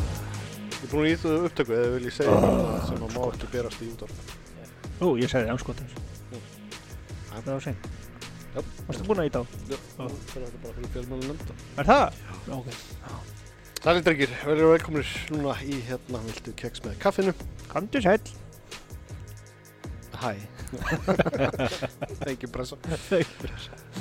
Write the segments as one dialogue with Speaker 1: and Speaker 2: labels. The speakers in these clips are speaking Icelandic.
Speaker 1: Ég er búin að íta þau upptöku eða vil ég segja oh, sem að má ekki berast í útvarp.
Speaker 2: Ú, ég sagði anskotin
Speaker 1: Jú.
Speaker 2: Það var seint
Speaker 1: Já.
Speaker 2: Varstu búin að íta á?
Speaker 1: Já, það er þetta bara fyrir fjölmjölu nefnda.
Speaker 2: Er það? Já, ok
Speaker 1: Sælir drengir, verður velkominir núna í hérna viltu keks með kaffinu.
Speaker 2: Kandu sæll
Speaker 1: Hæ. Engin pressa.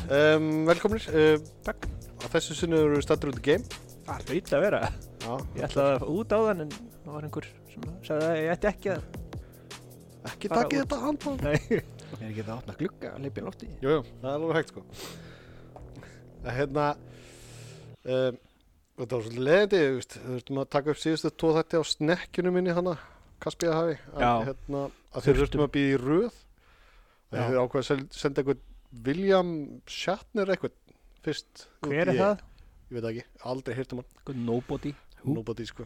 Speaker 1: Um, velkominir. Um,
Speaker 2: Takk.
Speaker 1: Á þessu sinni eru stættur út í game.
Speaker 2: Það hlýtt að vera
Speaker 1: Já,
Speaker 2: Ég ætlaði að út á þann en það var einhver sem sagði að ég ætti ekki að
Speaker 1: ekki
Speaker 2: Fara
Speaker 1: takið
Speaker 2: út.
Speaker 1: þetta handbóð.
Speaker 2: Nei
Speaker 3: Er ekki það að opna glugga að leipa í lofti?
Speaker 1: Jú, jú, það er alveg hægt sko. En Hérna, um, þetta var svolítið leðandi, þú veist, þú þurftum að taka upp síðustu tvo þætti á snekkjunum minni hana, Kaspíða hafi, að,
Speaker 2: Já.
Speaker 1: hérna, að þeir þurftum
Speaker 2: Þurftum.
Speaker 1: að býða í röð, að
Speaker 2: Já.
Speaker 1: þeir ákveða að sel- senda einhvern William Shatner eitthvað fyrst. út
Speaker 2: Hver
Speaker 1: í-
Speaker 2: er það?
Speaker 1: Ég veit það ekki, aldrei hirtum hann,
Speaker 2: Einhver Nobody Who?
Speaker 1: nobody sko.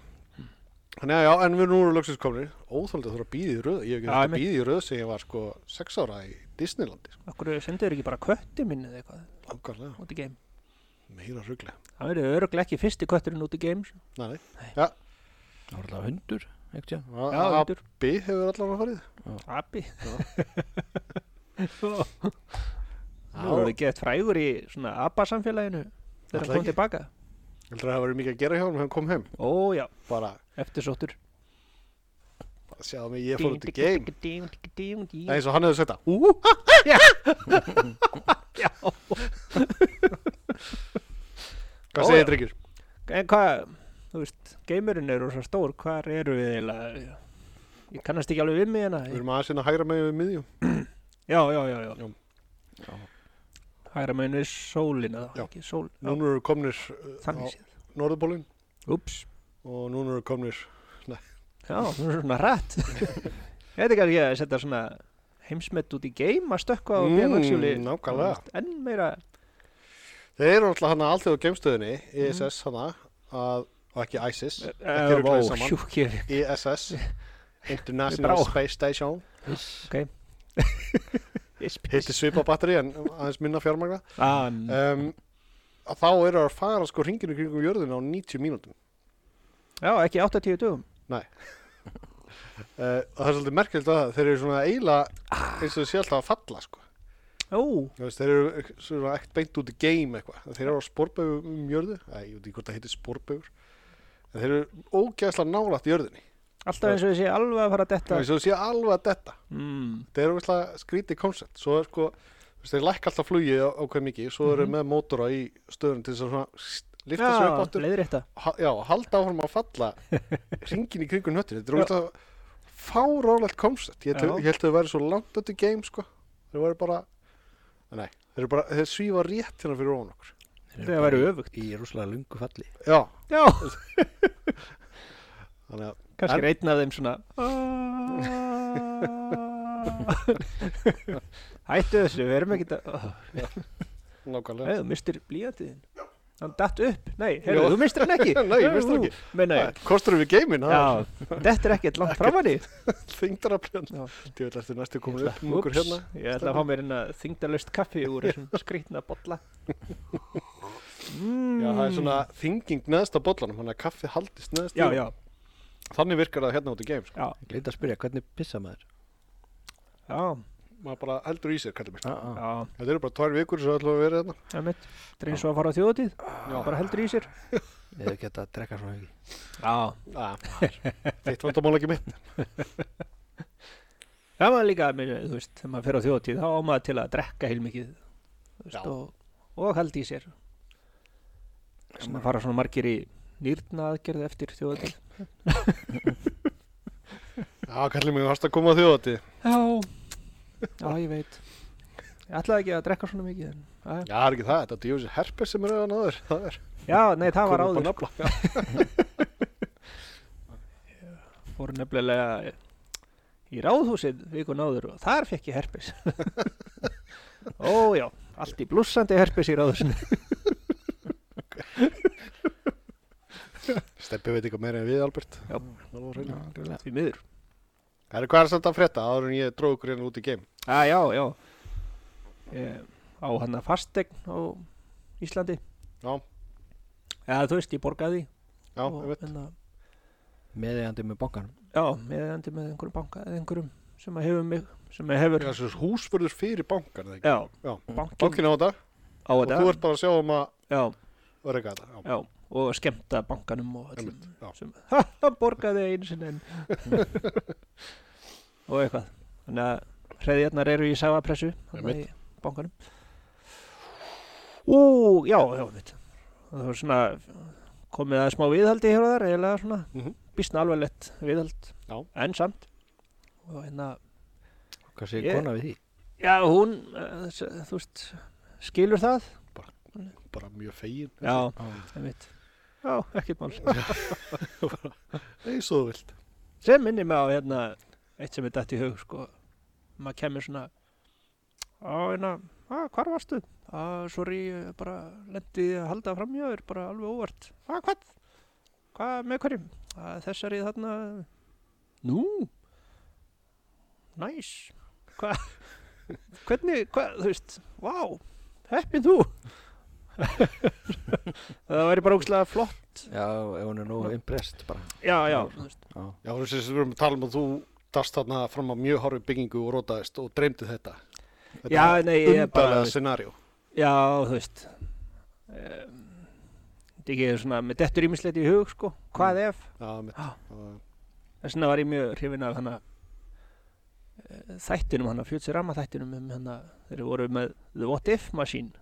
Speaker 1: Þannig að já, en við nú eru loksins komnir, óþáldið þurfa að býða í röð, ég hef ekki
Speaker 2: Já,
Speaker 1: þurft að
Speaker 2: einmitt.
Speaker 1: býða í röð sem ég var sko sex ára í Disneylandi, sko,
Speaker 2: Akkur sendur ekki bara kötti minni eða eitthvað
Speaker 1: langarlega,
Speaker 2: út í game
Speaker 1: meira rugglega.
Speaker 2: Það verður öruglega ekki fyrsti kötturinn út í game sko.
Speaker 1: Nei,
Speaker 3: Það var alltaf hundur, ekkert já.
Speaker 2: Já,
Speaker 1: A-
Speaker 2: hundur
Speaker 1: Abbi hefur allan að farið.
Speaker 2: Abbi Nú voru ekki eftir frægur í svona Abba samfélaginu
Speaker 1: Ætli
Speaker 2: þegar hann kom
Speaker 1: ekki.
Speaker 2: tilbaka
Speaker 1: Heldur að það verið mikið að gera hjá hann hann kom heim.
Speaker 2: Ó já,
Speaker 1: Bara,
Speaker 2: eftirsóttur
Speaker 1: sjáðu mig, ég fór út í game. Það er
Speaker 2: game
Speaker 1: eins og hann hefur sagt það.
Speaker 2: Ú, ha, já Já Ó,
Speaker 1: Hvað segir
Speaker 2: já.
Speaker 1: þið, drengir?
Speaker 2: En hvað, þú veist, geimurinn er rosa stór, hvar eru við eiginlega? Ég kannast ekki alveg við mig hérna.
Speaker 1: Við erum aðeins inn að hægra megin við miðjum.
Speaker 2: Já, já, já, já.
Speaker 1: Já.
Speaker 3: Já.
Speaker 2: Hægra meginn við sólina þá,
Speaker 1: Já.
Speaker 2: ekki sól. Já,
Speaker 1: Núna eru komnir uh,
Speaker 2: þannig séð.
Speaker 1: á Norðupólinn
Speaker 2: Úps.
Speaker 1: og núna eru komnir,
Speaker 2: Já, það er svona rætt. Þetta er kannski að setja svona heimsmet út í geim að stökkva á
Speaker 1: Mm,
Speaker 2: BMX-júli.
Speaker 1: nákvæmlega.
Speaker 2: Þú veist, Enn meira,
Speaker 1: þeir eru alltaf hann að alltaf á geimstöðinni, ISS hana, að, og ekki ISIS,
Speaker 2: Eh,
Speaker 1: rugla
Speaker 2: vá,
Speaker 1: því saman.
Speaker 2: sjúk ég.
Speaker 1: ISS, E International
Speaker 2: Brá.
Speaker 1: Space Station.
Speaker 3: Hiss.
Speaker 1: Hitti svipa batteri en aðeins minna fjármagna.
Speaker 2: Þann,
Speaker 1: Um, að þá eru að fara sko ringinu kringum jörðinu á 90 mínútum.
Speaker 2: já, ekki 80 dugum.
Speaker 1: Uh, og það er svolítið merkilegt að þeir eru svona eiginlega eins og þau sé alltaf að falla sko.
Speaker 2: Ó,
Speaker 1: Þú veist, þeir eru ek- svona ekkert beint út í game eitthvað. Þeir eru á sporbaugur um jörðu, Æ, ég veit ekki hvort það heitir sporbaugur. En þeir eru ógeðslega nálægt jörðinni.
Speaker 2: alltaf eins og þessi alveg að fara að
Speaker 1: Það
Speaker 2: detta.
Speaker 1: er svo sé alveg að detta.
Speaker 2: Mm.
Speaker 1: Þeir eru ógeðslega skrítið koncept. Svo er sko, þú veist, þeir lækka alltaf flugið á, á hvað mikið. Svo eru með mótora í stöðun til þess að svona sst, lifta sér upp áttur.
Speaker 2: leiðrétta.
Speaker 1: Ha, já, halda áfram að falla ringin í kringun höttinu. Þetta er ógeðslega fárálegt koncept. Ég, tel-
Speaker 2: Já.
Speaker 1: ég held að þau væri svo langt út í game sko. Þeir væru bara, nei, þeir, eru bara, þeir svífa rétt hérna fyrir ofan okkur.
Speaker 2: Þegar væri öfugt.
Speaker 3: Í rúslega lungu falli.
Speaker 1: Já,
Speaker 2: Já,
Speaker 1: þannig að
Speaker 2: kannski
Speaker 1: En-
Speaker 2: er einn af þeim svona Hættu þessu, við erum ekki að Ah,
Speaker 1: nákvæmlega
Speaker 2: Nei, þú mistir blíjantiðin Hann datt upp, nei,
Speaker 1: Jó.
Speaker 2: heyrðu, þú mistir hann ekki
Speaker 1: Nei, ég mistir hann ekki.
Speaker 2: Nei, nei,
Speaker 1: Nei, Kostur við geiminn, það
Speaker 2: já, þetta er ekkert langt framann í
Speaker 1: er þingdarafljan
Speaker 2: Já.
Speaker 1: Þú veit eftir næstu komin
Speaker 2: Ég
Speaker 1: upp um okkur
Speaker 2: Úps,
Speaker 1: hérna
Speaker 2: Ég ætla að fá mér hérna þingdalaust kaffi úr þessum skrýtna bolla mm.
Speaker 1: Já, það er svona þinging neðst á bollanum Þannig að kaffi haldist neðst
Speaker 2: Mm. Já,
Speaker 1: í.
Speaker 2: já,
Speaker 1: Þannig virkar það hérna út í geim sko.
Speaker 2: já,
Speaker 3: Ég gleyndi að spyrja hvernig pissa maður.
Speaker 2: já,
Speaker 1: Maður bara heldur í sér, kallar mér
Speaker 3: Ah, ah.
Speaker 2: já
Speaker 1: Þetta eru bara tvær vikur sem ætlum að vera hérna
Speaker 2: Það er mitt, þetta er eins og að fara á þjóðatíð
Speaker 1: Já.
Speaker 2: Bara heldur í sér
Speaker 3: Við hefum gett að drekka svona ekki.
Speaker 2: Já,
Speaker 1: Að, Þitt vandamál ekki mitt
Speaker 2: Það var líka, mér, þú veist, þegar maður fer á þjóðtíð þá á maður til að drekka heilmikið þú
Speaker 1: Já.
Speaker 2: veist, og, og haldi í sér sem að fara svona margir í nýrna aðgerð eftir þjóðtíð
Speaker 1: Já, kallar mér, varst að koma að þjóðati
Speaker 2: Já, já, ég veit Ég ætlaði ekki að drekka svona mikið en, að,
Speaker 1: Já, það er ekki það, þetta er djóðis herpes sem er auðan áður Það er
Speaker 2: Já, nei, það var
Speaker 1: komið upp á
Speaker 2: áður
Speaker 1: nafla. Já.
Speaker 2: fór nefnilega í ráðhúsið vikun áður og þar fekk ég herpes Ó já, allt í blússandi herpes í ráðhúsinu
Speaker 1: Stebbi veit eitthvað meira en við, Albert
Speaker 2: Já.
Speaker 1: Það var reyna
Speaker 2: Því miður
Speaker 1: Það er hvað er samt að frétta áður en ég dróð ykkur hérna út í geim
Speaker 2: Ah, já, já ég, á hann að fastegn á Íslandi
Speaker 1: Já.
Speaker 2: eða þú veist, ég borgaði
Speaker 1: Já,
Speaker 2: og,
Speaker 1: ég veit
Speaker 2: hérna,
Speaker 3: meðeigandi með bankanum
Speaker 2: já, meðandi með einhverjum banka eða einhverjum sem að hefur mig, sem að hefur, já,
Speaker 1: þessu húsförður fyrir bankan
Speaker 2: já,
Speaker 1: Já.
Speaker 2: bankin
Speaker 1: bankin á þetta
Speaker 2: á
Speaker 1: og
Speaker 2: þetta,
Speaker 1: þú ert bara að sjá um að
Speaker 2: já,
Speaker 1: örega þetta já,
Speaker 2: já, og skemmta bankanum og öllum
Speaker 1: einmitt, já.
Speaker 2: sem, ha, hann borgaði einu sinni en og eitthvað þannig að hreðjarnar eru í sagapressu þarna í
Speaker 1: Einmitt.
Speaker 2: bankanum ú, já, já, mitt það var svona komið að smá viðhaldi hér og þar eiginlega svona, mm
Speaker 1: Mhm.
Speaker 2: -hmm. býstna alveg lett viðhald
Speaker 1: Já.
Speaker 2: en samt og hérna,
Speaker 3: hvað segir
Speaker 2: Ég-
Speaker 3: kona við því?
Speaker 2: já, hún eh, s- þú veist, skilur það
Speaker 1: bara mjög fegin
Speaker 2: já,
Speaker 3: Já.
Speaker 2: einmitt já, ekkert mál
Speaker 1: eins og þú vilt
Speaker 2: sem minnir mig á hérna eitt sem er dætt í hug sko maður kemur svona á hérna, að hvar varstu? að sorry, ég bara lendi að halda framhjáður, bara alveg óvart að hvað? hvað með hverjum? að þessari þarna nú næs nice. hvað? hvernig, hvað, þú veist vá, heppin þú það væri bara ógstlega flott
Speaker 3: já, ef hún er nógu impressed bara
Speaker 2: já, já, þú veist
Speaker 3: já,
Speaker 1: já, þú sést, við erum að tala um að þú dast þarna fram að mjög hárfi byggingu og rótaðist og dreymdi þetta þetta
Speaker 2: já, nei, ég er bara
Speaker 1: undarlega scenarió
Speaker 2: Já, þú veist um, Þetta ekki er svona með dettur ímislegt í hug sko, hvað ef
Speaker 1: já, mitt,
Speaker 2: Já.
Speaker 1: já,
Speaker 2: þess vegna var ég mjög hrifin af hana eh, þættinum hana, Futurama þættinum um hana, þeir voru með The What If Machine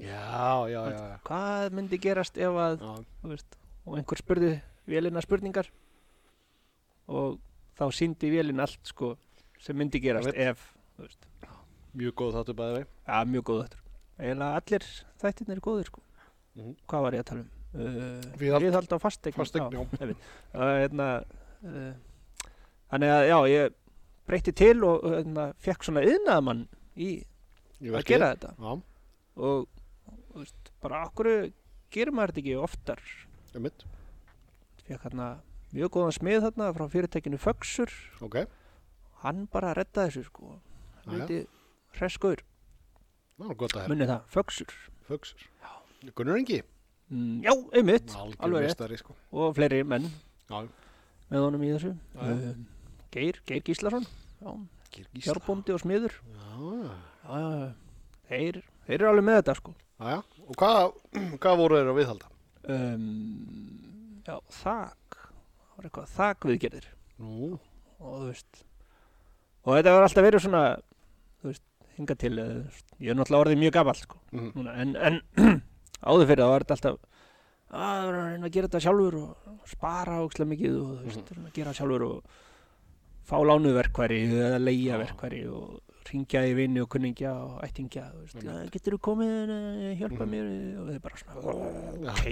Speaker 1: já, já, já, já.
Speaker 2: hvað myndi gerast ef að
Speaker 1: Já,
Speaker 2: þú veist, og einhver spurði vélina spurningar og þá síndi vélin allt sko, sem myndi gerast
Speaker 1: Ég
Speaker 2: ef þú veist,
Speaker 1: mjög góð þáttu bæði vei
Speaker 2: ja, mjög góð þættur eiginlega allir þættirnir eru góðir sko.
Speaker 1: Mhm.
Speaker 2: hvað var ég að tala um? Uh,
Speaker 1: Viðhald.
Speaker 2: viðhald á fasteign
Speaker 1: Fasteign, já.
Speaker 2: uh, hérna, uh, þannig að já, ég breytti til og uh, hérna, fekk svona yðnaðamann í
Speaker 1: Ég
Speaker 2: að
Speaker 1: verki.
Speaker 2: gera þetta
Speaker 1: Já,
Speaker 2: og þú veist, bara okkur gerir maður þetta ekki oftar
Speaker 1: um mitt,
Speaker 2: fekk hérna mjög góðan smið þarna frá fyrirtekinu Föxur
Speaker 1: ok
Speaker 2: hann bara reddaði þessu sko
Speaker 1: Já, já.
Speaker 2: hluti hreskuður,
Speaker 1: Ná, gott að herra,
Speaker 2: munið það, Föxur
Speaker 1: fugsur Gunnar Ingi,
Speaker 2: mm, já, einmitt
Speaker 1: algjör
Speaker 2: alveg rétt.
Speaker 1: mestari sko
Speaker 2: og fleiri menn
Speaker 1: Já,
Speaker 2: með honum í þessu
Speaker 1: Já, já.
Speaker 2: Um, Geir, Geir Gíslason já,
Speaker 1: Kirgistan
Speaker 2: fjárbóndi og smiður
Speaker 1: Já,
Speaker 2: já, já, já. Þeir, þeir eru alveg með þetta sko
Speaker 1: já, já, og hvað, hvað voru þeir að viðhalda?
Speaker 2: um, já, þak það var eitthvað þak viðgerðir
Speaker 1: Nú,
Speaker 2: og þú veist og þetta var alltaf verið svona þú veist, hinga til eða, þú veist, ég er náttúrulega orðið mjög gamall sko
Speaker 1: mm,
Speaker 2: núna, en, en áður fyrir það var þetta alltaf að það verður að reyna að gera þetta sjálfur og spara ókslega mikið og þú
Speaker 1: Mhm.
Speaker 2: veist, reyna að gera sjálfur og fá lánuð verkværi eða leigja
Speaker 1: Já.
Speaker 2: verkværi og ringja í vini og kunningja og ættingja þú veist,
Speaker 1: Einmitt.
Speaker 2: að, getur þú komið að hjálpa
Speaker 1: Mhm.
Speaker 2: mér og þið bara svona
Speaker 1: Já.
Speaker 2: ok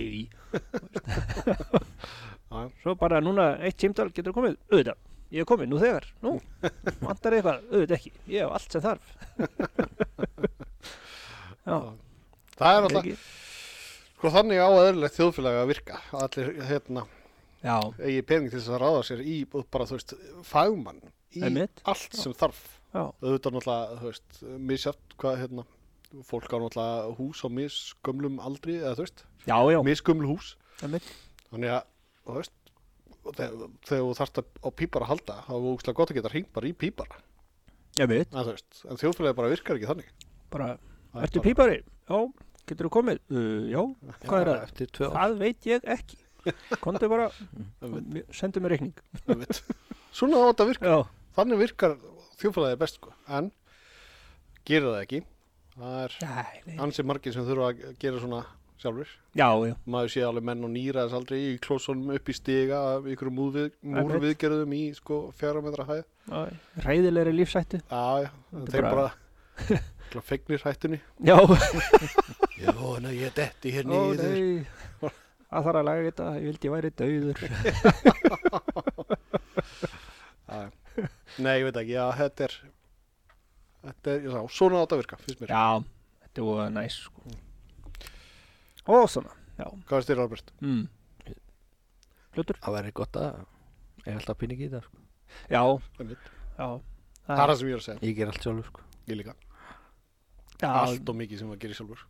Speaker 1: Já.
Speaker 2: svo bara núna eitt tímtal getur þú komið, auðvitað ég er komið nú þegar, nú vantar eitthvað, auðvitað ekki, ég hef allt sem þarf já,
Speaker 1: Það er
Speaker 2: ekki
Speaker 1: alltaf, sko þannig á að eðlilegt þjóðfélag að virka Allir, hérna,
Speaker 2: já,
Speaker 1: eigi pening til þess að ráða sér í bara, þú veist, fagmann Í
Speaker 2: Einmitt.
Speaker 1: allt sem þarf
Speaker 2: já,
Speaker 1: Auðvitað náttúrulega, þú veist, misjátt hvað, hérna Fólk á náttúrulega hús á misgömlum aldri, eða þú veist,
Speaker 2: já, já
Speaker 1: misgömlu hús
Speaker 2: einmitt.
Speaker 1: Þannig að, þú veist, þegar, þegar þú þarft að- á pípara að halda, þá er úkslega gott að geta hringt bara í pípara.
Speaker 2: Ég veit,
Speaker 1: En þú veist, en þjóðfélagi bara virkar ekki þannig.
Speaker 2: bara,
Speaker 1: Það er
Speaker 2: ertu
Speaker 1: bara-
Speaker 2: pípari? Já, getur þú komið? Uh, já, hvað er
Speaker 3: Já,
Speaker 2: það?
Speaker 3: eftir tvö ár
Speaker 2: Það veit ég ekki. Komdu bara, og sendu mér reikning.
Speaker 1: einmitt. Svona á þetta virkar,
Speaker 2: Já,
Speaker 1: þannig virkar þjóðfélagi best, sko. En, gerir það ekki. Það er
Speaker 2: Nei, nei.
Speaker 1: ansið margir sem þurfa að gera svona sjálfur.
Speaker 2: já, já,
Speaker 1: Maður sé alveg menn og nýra þess aldrei í klósunum upp í stiga, af ykkur múrvið, múrviðgerðum í sko fjara metra hæð.
Speaker 2: já, ræðilegri lífsættu.
Speaker 1: Já, já, en
Speaker 2: Þetta er
Speaker 1: þeir
Speaker 2: bara-
Speaker 1: bara, bara fegnir hættunni.
Speaker 2: Já,
Speaker 1: Ég vona ég detti hér
Speaker 2: ó nei, að þarf að laga þetta, ég vildi ég væri dauður.
Speaker 1: Já, já. Nei, ég veit ekki, já, þetta er Þetta er, já, svona átt að virka, finnst mér
Speaker 2: Já, þetta var næs, sko. Og svona, já.
Speaker 1: Hvað er styrir Albert?
Speaker 2: Mm. Hlutur?
Speaker 3: það væri gott að ég er alltaf pinning í þetta sko.
Speaker 2: Já,
Speaker 1: Einmitt.
Speaker 2: já.
Speaker 1: Það er það sem ég er að segja,
Speaker 3: ég ger allt sjálfur sko.
Speaker 1: ég líka
Speaker 2: Já,
Speaker 1: Allt og mikið sem að gera sjálfur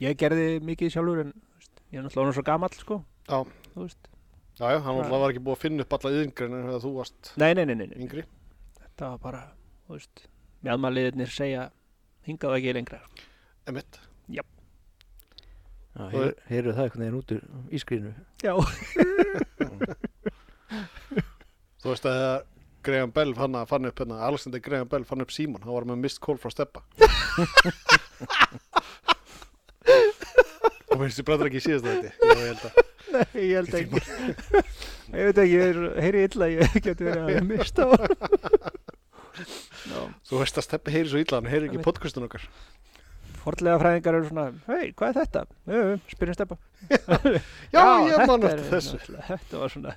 Speaker 2: ég gerði mikið sjálfur en þú veist, ég er náttúrulega orðinn svo gamall sko
Speaker 1: Já.
Speaker 2: Þú veist,
Speaker 1: Já, já, hann alltaf var ekki búið að finna upp alla yðingrin en þegar þú varst
Speaker 2: Nei, nei, nei, nei, nei.
Speaker 1: yngri.
Speaker 2: þetta var bara, þú veist, mjálmaliðirnir segja hingað ekki lengra. sko.
Speaker 1: Emitt.
Speaker 3: Já, heyr, heyrðu það einhvern veginn út úr ískrinu
Speaker 2: Já,
Speaker 1: Þú veist að þegar Graham Bell hann að fann upp hérna, Alexander Graham Bell fann upp Simon, hann var með mist call frá steppa. Þú finnst þið bræður ekki í síðast þetta, ég held að.
Speaker 2: nei, ég held ekki. ég veit ekki, ég er- heyri illa, ég geti verið að mista á. Já,
Speaker 1: Þú veist að steppi heyri svo illa, hann heyri ekki
Speaker 2: Einmitt.
Speaker 1: podcastun okkar.
Speaker 2: forlega fræðingar eru svona, hei, hvað er þetta? Jú, jú, Spyrjum stefa.
Speaker 1: Já, ég
Speaker 2: þetta
Speaker 1: man
Speaker 2: er
Speaker 1: eftir þessu.
Speaker 2: náttúrulega- Þetta var svona,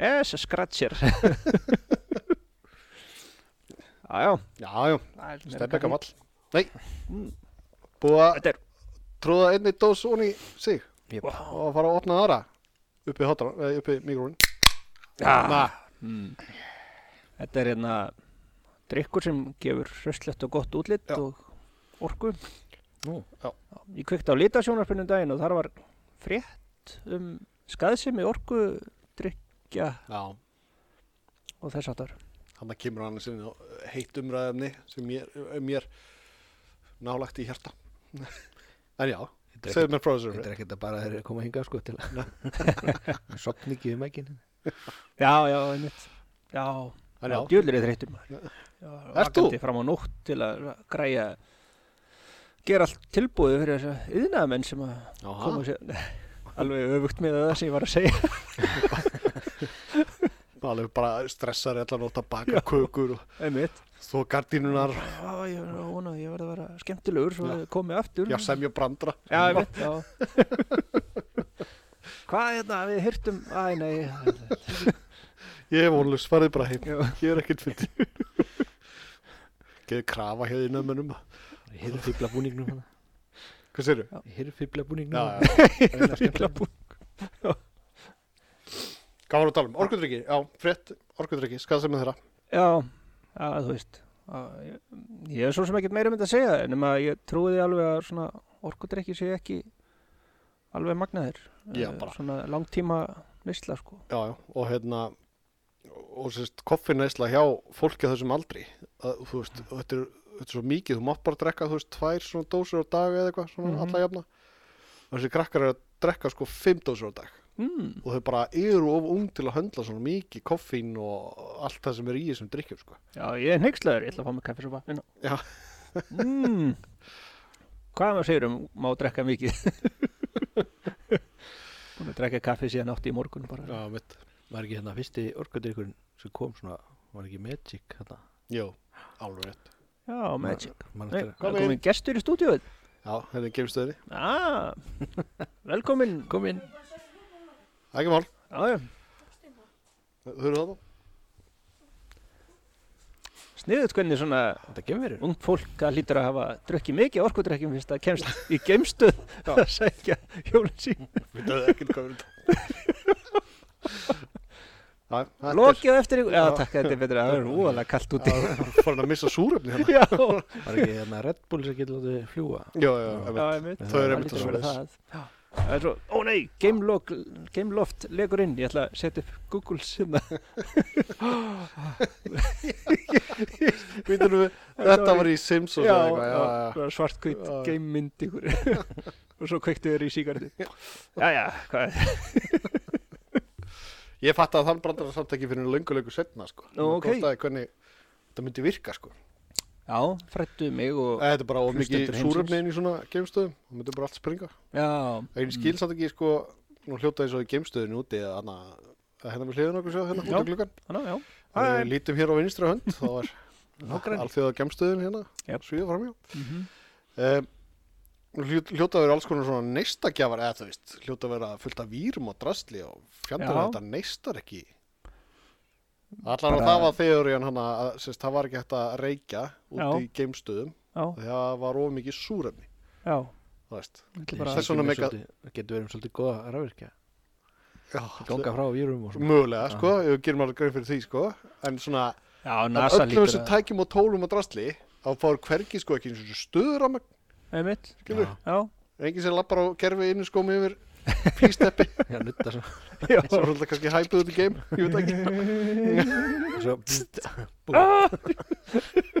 Speaker 2: þessi scratcher. Já, já.
Speaker 1: Já, já,
Speaker 2: það er meira
Speaker 1: steppi ekki
Speaker 2: gaman.
Speaker 1: að vall. Nei, búið að
Speaker 2: Þetta er,
Speaker 1: tróða einni dós onni í sig
Speaker 3: Jep.
Speaker 1: og að fara að opna aðra uppi, hátara, eh, uppi mikrofón.
Speaker 2: ah, mm. þetta er hérna drikkur sem gefur röstlegt og gott útlitt
Speaker 1: Já.
Speaker 2: og orku.
Speaker 3: Nú.
Speaker 1: Já.
Speaker 2: Ég kveikti á litasjónarpinu daginn og þar var frétt um skaðsemi orku drikja
Speaker 1: Já,
Speaker 2: og þess aftar.
Speaker 1: hann kemur hann sinni eh, heitt umræðumni sem mér, eh, mér nálagt í hjarta en já,
Speaker 3: Þetta er
Speaker 1: segðu mér frá þessu
Speaker 3: Þetta
Speaker 1: umræðu.
Speaker 3: er ekkert að bara þeir eru að koma hingað sko til að Sopni ekki um ekki
Speaker 2: Já, já, einmitt. Já,
Speaker 1: en já,
Speaker 2: djúlir er þreytum.
Speaker 1: Ert þú?
Speaker 2: fram á nótt til að græja gera allt tilbúið fyrir þess að yðnaðamenn sem að koma
Speaker 1: já,
Speaker 2: sér alveg öfugt með það sem ég var að segja
Speaker 1: alveg bara stressar allan ótt að baka kökur og
Speaker 2: einmitt
Speaker 1: þó gardínunar,
Speaker 2: já, ég var að vona að ég var að vera skemmtilegur svo þið komið aftur
Speaker 1: já, semja brandra
Speaker 2: já einmitt já. hvað hérna við hirtum æ, nei
Speaker 1: ég hef vonlust, farið bara heim
Speaker 2: Já.
Speaker 1: ég er ekkert fyndi geðu krafa hér innan mönnum
Speaker 3: Heyrðu fýbla búningnum hana
Speaker 1: hvað sérðu?
Speaker 3: Heyrðu fýbla
Speaker 1: Já,
Speaker 3: búningnum
Speaker 1: já,
Speaker 3: Þetta er skemmtilegt.
Speaker 1: hvað var að tala um? Orkudrykki, já, frétt orkudrykki, skað sem er þeirra
Speaker 2: já, já, þú veist já, ég, ég er svo sem ekkert meira um þetta að segja en að ég trúiði alveg að svona orkudrykki sé ekki alveg magnaðir
Speaker 1: Já,
Speaker 2: Eh,
Speaker 1: bara.
Speaker 2: svona langtíma neysla sko
Speaker 1: Já, já, og hérna og sérst koffinæsla hjá fólki á þessum aldri að, þú veist, þetta er, þetta er svo mikið þú mátt bara drekka, þú veist, tvær svona dósir á dag eða eitthvað, svona
Speaker 2: Mhm.
Speaker 1: alla jafna og þessi krakkar eru að drekka sko fimm dósir á dag
Speaker 2: mm,
Speaker 1: og þau bara eru of ung til að höndla svona mikið koffín og allt það sem er í þessum drikkjum sko.
Speaker 2: já, ég er hneykslaður, ég ætla að fá mig kaffi svo bara
Speaker 1: Já,
Speaker 2: mm. Hvað maður segir um má drekka mikið? Búin að drekka kaffi síðan átti í morgun bara.
Speaker 1: já, mitt
Speaker 3: Var ekki hérna fyrsti orkudrykkurinn sem kom svona Var ekki Magic hérna
Speaker 1: Jú, alveg rétt
Speaker 2: Já, magic.
Speaker 3: Man
Speaker 2: Nei,
Speaker 3: eftir að
Speaker 1: kom
Speaker 2: það er komin gestur í stúdíóið.
Speaker 1: Já, þetta er geimstöðinni,
Speaker 2: Ah, velkomin.
Speaker 3: Kom inn
Speaker 1: það er ekki mál,
Speaker 2: Já, já,
Speaker 1: þú eru það
Speaker 2: sniðut hvernig svona
Speaker 3: Þetta kemur verið
Speaker 2: ungt fólk að lítur að hafa drukkið mikið orkudrekkjum fyrst að kemst í geimstuð að sækja hjólinn sín.
Speaker 1: Við döðum ekkert hvað við Já, þetta er-
Speaker 2: Lokið á eftir ykkur. Já,
Speaker 1: Já.
Speaker 2: takk, þetta er betra. Það er óalega kallt
Speaker 1: Já,
Speaker 2: úti.
Speaker 1: farin að missa súrefni hérna
Speaker 2: Já,
Speaker 3: Var ekki hérna Red Bull sem getur látið fljúa
Speaker 1: Já, já,
Speaker 2: já,
Speaker 1: já,
Speaker 2: einmitt.
Speaker 1: Þau eru
Speaker 2: Það
Speaker 1: einmitt
Speaker 2: lítur
Speaker 1: að
Speaker 2: að vera
Speaker 1: svoleiðis.
Speaker 2: það. Já. Það er svo, ó nei, gameloft, gameloft legur inn, ég ætla að setja upp Google sinna.
Speaker 1: Býtum við, þetta var í Simpsons eða eitthvað, já,
Speaker 2: svartkvít
Speaker 1: Já.
Speaker 2: game mynd ykkur. og svo kveiktu þér í sígardu. Já, já, hvað er
Speaker 1: já. Ég fatt að þann brandar samt ekki fyrir löngu löngu setna, sko.
Speaker 2: Nú, ok.
Speaker 1: Það er hvernig þetta myndi virka, sko.
Speaker 2: Já, frættu mig og,
Speaker 1: Þetta er bara of mikið
Speaker 3: Hlustendur heimsins.
Speaker 1: súrefni inn í svona geimstöðum, það myndi bara allt springa.
Speaker 2: já,
Speaker 1: En ég skil samt ekki, sko, nú hljóta eins og í geimstöðinu úti eða hana, að hérna við hliðin okkur sjá, hérna, út
Speaker 2: Já.
Speaker 1: af gluggan.
Speaker 2: hana, já.
Speaker 1: Þegar
Speaker 2: Hæ.
Speaker 1: við lítum hér á vinstri hönd, þá var
Speaker 3: Nágranni.
Speaker 1: alþjóða geimstöðin hérna,
Speaker 2: Jep.
Speaker 1: svíða framjá.
Speaker 2: Mhm.
Speaker 1: Um, hljóta að vera alls konar svona neistagjafar eða þú veist, hljóta að vera fullt af vírum og drastli og fjandur
Speaker 2: Já.
Speaker 1: að þetta neistar ekki allan
Speaker 2: Bara-
Speaker 1: að það var þeorían hana að sérst, það var ekki hægt að reykja út
Speaker 2: Já.
Speaker 1: í geimstöðum
Speaker 2: Já,
Speaker 1: það var of mikið súrefni
Speaker 2: já.
Speaker 1: þú veist.
Speaker 2: Þetta er
Speaker 3: Ég
Speaker 2: bara-
Speaker 1: Þess vegna
Speaker 3: sýkjum er
Speaker 1: mega-
Speaker 3: svolítið- Það getur verið um svolítið góða rafvirkja
Speaker 1: Já,
Speaker 3: Ganga frá vírum og
Speaker 1: allir-
Speaker 3: svona
Speaker 1: mögulega sko, ef við gerum alveg grein fyrir því sko en svona,
Speaker 2: Já,
Speaker 1: af
Speaker 2: NASA
Speaker 1: öllum
Speaker 2: lítur
Speaker 1: þessum
Speaker 2: að,
Speaker 1: tækjum og tólum og drastli þá fór hvergi sko ekki eins og stöður að
Speaker 2: einmitt,
Speaker 1: skilur,
Speaker 2: já,
Speaker 1: enginn sem lappar á gerfi innu skómi yfir písteppi
Speaker 3: Já, nutta svona
Speaker 2: Já.
Speaker 1: Svo er þetta kannski hæpið út í game Ég veit ekki
Speaker 3: og Svo, pst,
Speaker 2: Ah!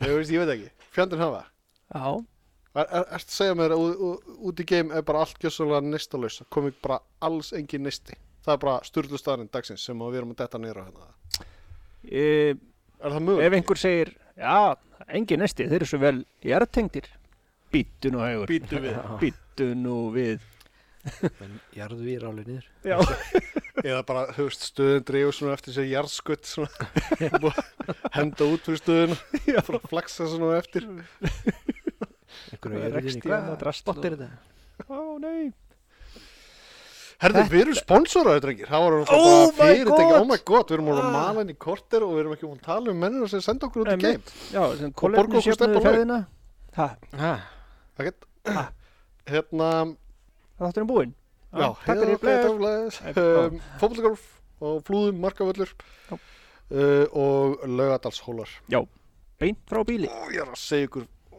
Speaker 1: Ég veist, ég veit ekki Fjandinn hafa
Speaker 2: Já,
Speaker 1: Er, er, ertu að segja mér að ú- ú- út í game er bara allt gjössalega nistalaus það komið bara alls engin nisti það er bara styrlu staðarinn dagsins sem að við erum að detta nýra hérna
Speaker 2: e,
Speaker 1: er það mögulegt?
Speaker 2: ef einhver segir Já, engin nesti, þeir eru svo vel jarðtengdir Býttu nú hægur
Speaker 1: býtu við
Speaker 2: Býttu nú við
Speaker 3: menn, jarðu við ráli niður
Speaker 2: Já,
Speaker 1: eða bara, þú veist, stöðin dreigur svona eftir sér jarðskutt svona Búið að henda út fyrir stöðin fór að flaxa svona á eftir
Speaker 3: einhverju
Speaker 2: Rekst í hana, drasl
Speaker 3: bótt er
Speaker 2: og-
Speaker 3: þetta?
Speaker 2: Ó, nei
Speaker 1: herðu, við erum sponsoraður, drengir það var
Speaker 2: Oh
Speaker 1: bara
Speaker 2: my
Speaker 1: fyrirtæki,
Speaker 2: God.
Speaker 1: oh my god við erum orðin að
Speaker 2: Ah.
Speaker 1: mala henni í korter og við erum ekki búin að tala um mennina sem senda okkur út í
Speaker 2: Einmitt.
Speaker 1: game
Speaker 2: Já, sem
Speaker 1: borga okkur
Speaker 2: kollegni
Speaker 1: steppa á
Speaker 2: sjöfnuðu
Speaker 1: leið.
Speaker 2: ferðina Ha,
Speaker 3: Ha,
Speaker 1: Það get-
Speaker 2: Ah.
Speaker 1: hérna,
Speaker 2: þátturinn búinn
Speaker 1: Já,
Speaker 2: Ah,
Speaker 1: hérna,
Speaker 2: takk fyrir blæður Nei, já.
Speaker 1: blöður, fótbollegolf og Um, flúðum, markavöllur
Speaker 2: Já.
Speaker 1: uh, og laugadalshólar.
Speaker 2: Beint frá bíli
Speaker 1: Ó, ég er að segja ykkur, ó,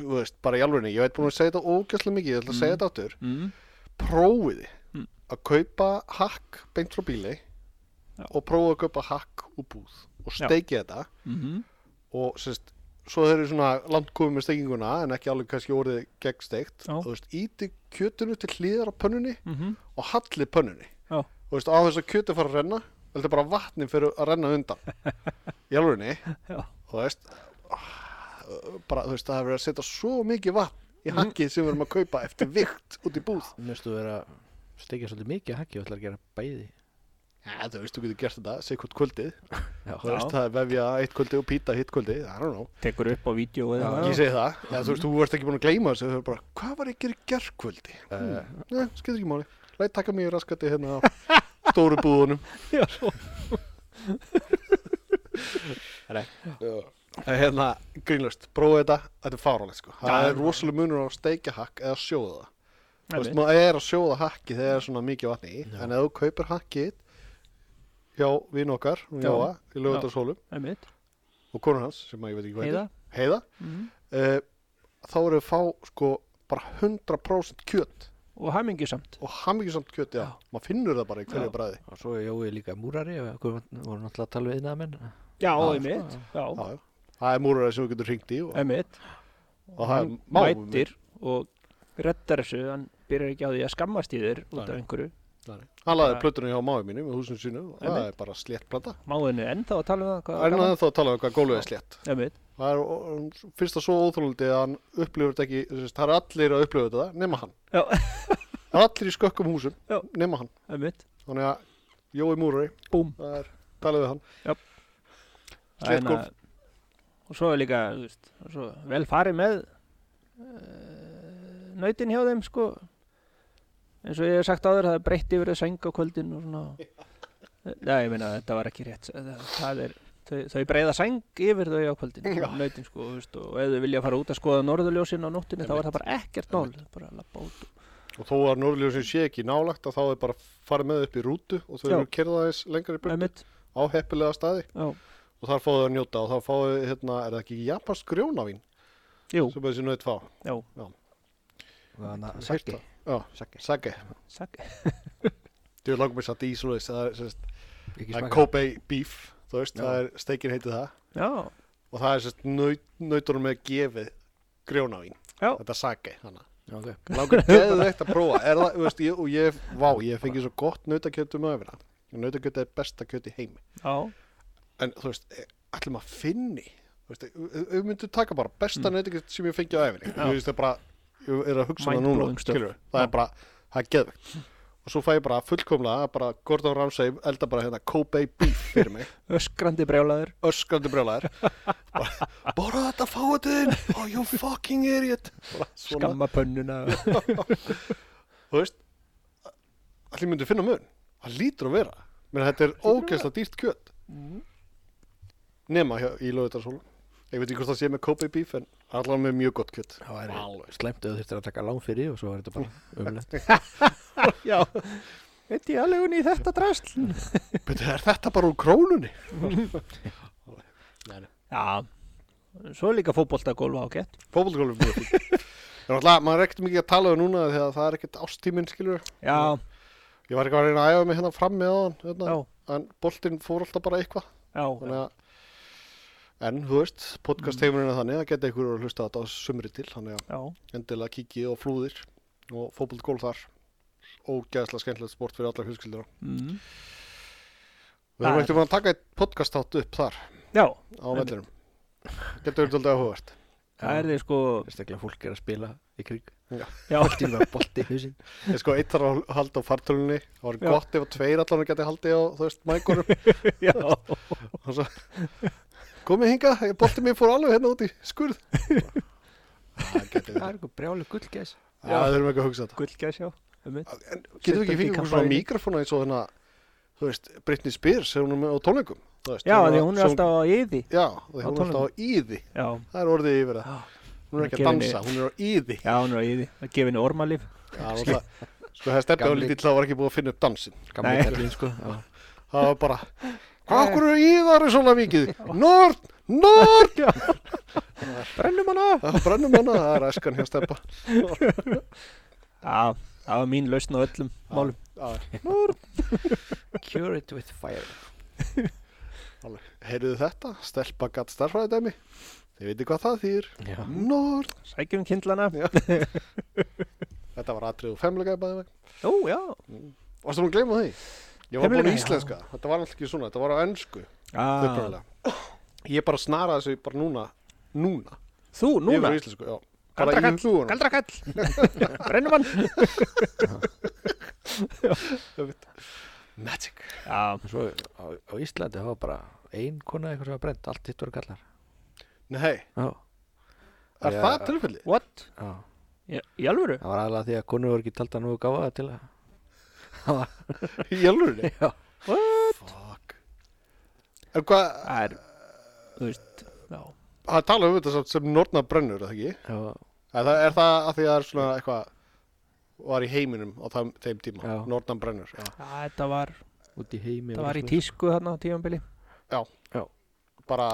Speaker 1: þú veist, bara í alvegni, ég veit búin að segja þetta ógæslega mikið, ég ætla að
Speaker 2: Mm.
Speaker 1: segja þetta áttur.
Speaker 2: mm.
Speaker 1: Prófiði
Speaker 2: Mm.
Speaker 1: að kaupa hakk beint frá bíli
Speaker 2: Já.
Speaker 1: og prófiði að kaupa hakk úr búð og
Speaker 2: Já.
Speaker 1: steikið þetta
Speaker 2: Mm
Speaker 1: og sérst, svo þeir eru svona langt komið með steikinguna en ekki alveg kannski orðið gegnsteikt.
Speaker 2: Já.
Speaker 1: Þú veist, íti kjötinu til hlýðar á pönnunni
Speaker 2: -hmm.
Speaker 1: og halli pönnunni
Speaker 2: Já.
Speaker 1: og veist, á þess að kjöti fara að renna heldur bara vatni fyrir að renna undan í alvegni
Speaker 2: Já.
Speaker 1: og þú veist ah, bara þú veist það er verið að setja svo mikið vatn í hakkið sem við erum að kaupa eftir vikt út í búð
Speaker 3: mér finnst þú vera að steikja svolítið mikið að haki og ætlar að gera bæði
Speaker 1: ja, þú veist þú getur gert þetta, seg hvort kvöldið
Speaker 3: Já,
Speaker 1: þú veist það er vefja eitt kvöldið og pýta hitt kvöldið I don't know,
Speaker 2: Tekur upp á vídeo eða
Speaker 1: ég segi það ja, þú veist þú ert ekki búin að gleyma þessu þú er bara, hvað var ég að gera í gerkvöldi
Speaker 3: Eh,
Speaker 1: ne, skiptir ekki máli, læt taka mig í raskati hérna á stóru búðunum
Speaker 2: Já, svo
Speaker 1: Það er hérna grínlust, prófa þetta, þetta er fáránlegt sko. Það
Speaker 2: Já,
Speaker 1: er
Speaker 2: já.
Speaker 1: rosalega munur á að steikja hakk eða sjóða það. Þú veist,
Speaker 2: Einmitt.
Speaker 1: maður er að sjóða hakki þegar það er svona mikið vatni í,
Speaker 3: Já.
Speaker 1: en ef þú kaupir hakkið hjá vinn okkar, hún
Speaker 2: Já.
Speaker 1: Jóa, í lögutarsólum
Speaker 2: Einmitt,
Speaker 1: og konur hans, sem að ég veit ekki hvað
Speaker 2: heiða
Speaker 1: heitir, heiða
Speaker 2: mm.
Speaker 1: uh, þá eru við að fá sko bara 100% kjöt
Speaker 2: Og hamingisamt
Speaker 1: og hamingisamt kjöt, já.
Speaker 2: Já.
Speaker 1: Maður finnur það bara í hverju
Speaker 2: Já.
Speaker 1: bræði.
Speaker 3: og svo er Jói líka múrari og okkur voru náttúrulega að tala við það menn
Speaker 2: Já,
Speaker 1: Já,
Speaker 2: einmitt, já,
Speaker 1: Já, já. Það er múraræði sem þú getur hringt í og,
Speaker 2: einmitt
Speaker 1: og það er
Speaker 2: Hann mætir og reddar þessu Hann byrjar ekki á því að skammast í þér út af
Speaker 3: Nei.
Speaker 2: einhverju
Speaker 1: Hann laði
Speaker 2: Bara-
Speaker 1: plötunum hjá máið mínum í húsinu sínu og það
Speaker 2: Einmitt.
Speaker 1: er bara slétt plata.
Speaker 2: Máðinu ennþá að tala um það hvað
Speaker 1: Það er
Speaker 2: gaman.
Speaker 1: náðan þá að tala um hvað gólfið er slétt.
Speaker 2: Einmitt,
Speaker 1: Það er ó- ó- fyrsta svo óþólandi að hann upplifur þetta ekki, þess, það er allir að upplifa þetta, nema hann.
Speaker 2: Já.
Speaker 1: Það er allir í skökkum húsum,
Speaker 2: Já.
Speaker 1: nema hann.
Speaker 2: einmitt
Speaker 1: Þannig að Jói Múrari,
Speaker 2: Búm
Speaker 1: það er talað við hann.
Speaker 2: Það er
Speaker 1: Slétt gólf.
Speaker 2: hérna- Og svo er líka, þú veist, svo vel farið með uh, nautin hjá þeim, sko. eins og ég hef sagt áður, það er breytt yfir að seng á kvöldin og svona. Já, ég meina, þetta var ekki rétt. Það, það er, þau, þau breyða sæng yfir þau á kvöldin,
Speaker 1: Já.
Speaker 2: nautin, sko, þú veist, og ef þau vilja fara út að skoða norðurljósin á nóttinni, þá er það bara ekkert nál. Bara að lappa út.
Speaker 1: Og þó að Norðljósin sé ekki nálagt að þá er bara farið með upp í rútu og þau
Speaker 2: Já.
Speaker 1: eru kerða þess lengra í burtu
Speaker 2: Æmitt,
Speaker 1: á heppilega staði
Speaker 2: já,
Speaker 1: og þar fáðu þau að njóta og þá fáðu, hérna, er það ekki japansk grjónavín
Speaker 2: jú,
Speaker 1: sem þessi nöðt fá?
Speaker 2: já,
Speaker 3: og þannig að
Speaker 1: Heyrt
Speaker 3: sakki
Speaker 1: það? Já,
Speaker 3: sakki,
Speaker 1: sake.
Speaker 2: sæk.
Speaker 1: Þú langum mér satt í svoleiðis, það er, sérst,
Speaker 3: ekki
Speaker 1: það er
Speaker 3: smaka
Speaker 1: Kobe beef, þú veist,
Speaker 3: Já.
Speaker 1: það er steikin heitið það.
Speaker 2: Já,
Speaker 1: og það er sérst naut, nautunum með gefið grjónavín,
Speaker 2: Já.
Speaker 1: þetta sake hana.
Speaker 3: Já, ok.
Speaker 1: langar geðið eitt að prófa er það, þú veist, ég, og ég, vá, ég fengi svo gott nautakjöt um öfina nautakjöt er besta kjöt í heimi
Speaker 2: já,
Speaker 1: en þú veist, allir maður finni þú veist, e, við myndum taka bara besta mm. nautakjöt sem ég fengi á öfina
Speaker 2: Já.
Speaker 1: þú veist, það er bara, ég er að hugsa um það núna
Speaker 2: Mind-blowing stuff.
Speaker 1: skilurðu. það er bara, það er geðvegt og svo fæ ég bara fullkomlega, bara Gordon Ramsay elda bara hérna Kobe beef fyrir mig
Speaker 2: öskrandi brjálaður.
Speaker 1: öskrandi brjálæðir bara þetta fáiðin oh you fucking idiot Bara svona,
Speaker 2: Skamma pönnuna.
Speaker 1: þú veist allir myndi finna mun það lítur að vera menn þetta er ógeðslega dýrt kjöt
Speaker 2: Mhm.
Speaker 1: nema hjá, í lögutarsólu ég veit ekki hvort það sé með Kobe beef en allan með mjög gott kjöt
Speaker 3: það væri
Speaker 1: Alveg.
Speaker 3: slæmt ef þú þurftir að taka lán fyrir því og svo var þetta bara umlegt
Speaker 2: Já, veit ég alveg unni í þetta drasl
Speaker 1: Betu, er þetta bara úr krónunni
Speaker 2: Já, svo er líka fótboltagólf ágætt
Speaker 1: fótbolgólfum mjög fínt En alltaf, maður er ekkert mikið að tala um núna þegar það er ekkert ástíminn, skilur.
Speaker 2: Já,
Speaker 1: Ég var eitthvað að reyna að æfa mig hérna fram með áðan, hérna,
Speaker 2: já,
Speaker 1: en boltinn fór alltaf bara eitthvað.
Speaker 2: já,
Speaker 1: Þannig að, en, þú veist, podcast heimurinn er þannig að geta ykkur að hlusta þetta á sumri til, þannig
Speaker 2: já,
Speaker 1: að endilega kikið og flúðir og fótbollgólf þar. Ógæðslega skemmtilegt sport fyrir alla fjölskyldina.
Speaker 2: mm.
Speaker 1: Við erum
Speaker 2: Það er-
Speaker 1: ekkert að taka eitt podcast átt upp þar
Speaker 2: já,
Speaker 1: á vellinum. Getur við svolítið áhugavert.
Speaker 2: það er því sko,
Speaker 3: Sérstaklega fólk er að spila í krig
Speaker 2: já,
Speaker 3: Allt í með bolti í hausinn
Speaker 1: Ég sko, eitt þarf að halda á fartölunni. Það var
Speaker 2: Já.
Speaker 1: gott ef að tveir allan geti haldið á, þú veist, mækurum.
Speaker 2: já,
Speaker 1: og svo komið hinga, boltið mér fór alveg hérna út í skurð það getur
Speaker 3: Það
Speaker 1: við
Speaker 3: er eitthvað brjálu gullgæs
Speaker 1: Já, það þurfum ekki að hugsa þetta
Speaker 2: gullgæs, já, um mitt,
Speaker 1: en getur við
Speaker 2: Settu
Speaker 1: ekki
Speaker 2: ekki
Speaker 1: fengið okkur
Speaker 2: kampavíni.
Speaker 1: svona mikrofona eins og þarna þú veist, Britney Spears sem hún er með á tónleikum þú veist,
Speaker 2: já, því hún er
Speaker 1: svo-
Speaker 2: alltaf á yði,
Speaker 1: já, því hún er
Speaker 2: tónleikum.
Speaker 1: alltaf á íði
Speaker 2: já,
Speaker 1: það er orðið yfir það
Speaker 2: Já.
Speaker 1: hún er ekki að
Speaker 2: Gefin
Speaker 1: dansa, hún er á íði
Speaker 2: já, hún er á yði, að gefa henni ormalif,
Speaker 1: Já, hún er alltaf- sko, það er stefnið á
Speaker 3: Gamli-
Speaker 1: lítið til það var ekki búið að finna upp dansin
Speaker 3: Gamli
Speaker 2: Nei.
Speaker 3: kallinn sko Já.
Speaker 1: það var bara hvað okkur eru íðari svona mikið nord, nord
Speaker 2: brennum hana,
Speaker 1: það brennum hana, það er æskan hjá steppa
Speaker 2: já, það var mín lausn á öllum málum,
Speaker 1: Já,
Speaker 3: Cure it with fire
Speaker 1: Alveg. Heyrðu þetta, stelpa gatt starfræðidæmi. Þið veitir hvað það þýr.
Speaker 3: Já.
Speaker 1: Nord.
Speaker 2: sækjum kindlana,
Speaker 1: Þetta var atrið og femlega bæði veginn.
Speaker 2: jú, já,
Speaker 1: Varstu nú að gleyma því? Ég var búin í
Speaker 2: Femlega, já.
Speaker 1: íslenska. Þetta var alltaf ekki svona, þetta var á ennsku.
Speaker 2: já,
Speaker 1: Ah. Ég bara snaraði þessu bara núna, núna. Ég
Speaker 2: þú, núna,
Speaker 1: var í íslensku, já. Bara
Speaker 2: Galdrakall,
Speaker 1: í hlúuna.
Speaker 2: galdrakall, brennum hann,
Speaker 1: Magic.
Speaker 2: já,
Speaker 3: Svo á, á Íslandi það var bara ein kona eitthvað sem var brent Allt hitt voru kallar
Speaker 1: Nei,
Speaker 3: Já.
Speaker 1: er
Speaker 3: Já.
Speaker 1: það tilfelli?
Speaker 2: what,
Speaker 3: Já.
Speaker 2: í í alvöru,
Speaker 3: Það var aðlega því að konur voru ekki taldar nú gáða til að
Speaker 1: Í alvöru?
Speaker 3: Já.
Speaker 1: Fuck. En hvað,
Speaker 2: það er, þú veist, já,
Speaker 1: það tala um þetta samt sem norna brennur, er það ekki?
Speaker 3: Já,
Speaker 1: Er það, er það að því að það er svona eitthvað var í heiminum á þeim, þeim tíma
Speaker 3: Já.
Speaker 1: Norðan brennur já.
Speaker 2: Já, þetta var,
Speaker 3: út í heimi
Speaker 2: þetta var í tísku þarna á tímanbili,
Speaker 1: bara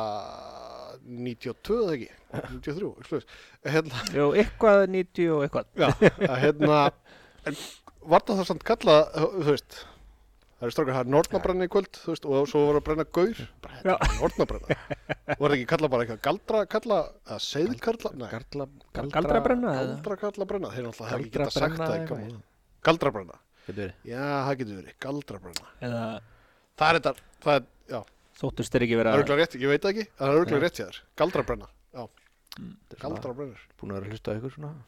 Speaker 1: 92 eða ekki 93 eitthvað svoleiðis. hérna,
Speaker 2: jú, eitthvað 90 og eitthvað,
Speaker 1: já, að hérna en var það það samt kallað þú veist það er strákar, það er nornabrenna í kvöld þú veist, og svo var að brenna gaur bara
Speaker 2: Já.
Speaker 1: þetta er nornabrenna var það ekki kallað bara eitthvað galdra kalla eða seiðkarla, nei,
Speaker 3: Galdra,
Speaker 2: galdra brenna eða,
Speaker 1: galdra kalla brenna þeir náttúrulega hefði ekki
Speaker 3: Galdra
Speaker 1: getað sagt það í
Speaker 3: eitthvað
Speaker 1: gamla- galdra brenna,
Speaker 3: Getur verið
Speaker 1: já, það getur verið galdra brenna
Speaker 2: eða
Speaker 1: það er þetta, það er, já
Speaker 2: þóttust þeir ekki vera,
Speaker 1: Það er auðvitað rétt, ég veit það ekki, en það er auðvitað
Speaker 3: Nei.
Speaker 1: rétt hjá þér. Galdrabrenna, já,
Speaker 3: Þetta er svona-
Speaker 1: galdrabrennur.
Speaker 3: Búin að vera að hlusta á ykkur svona
Speaker 1: Já,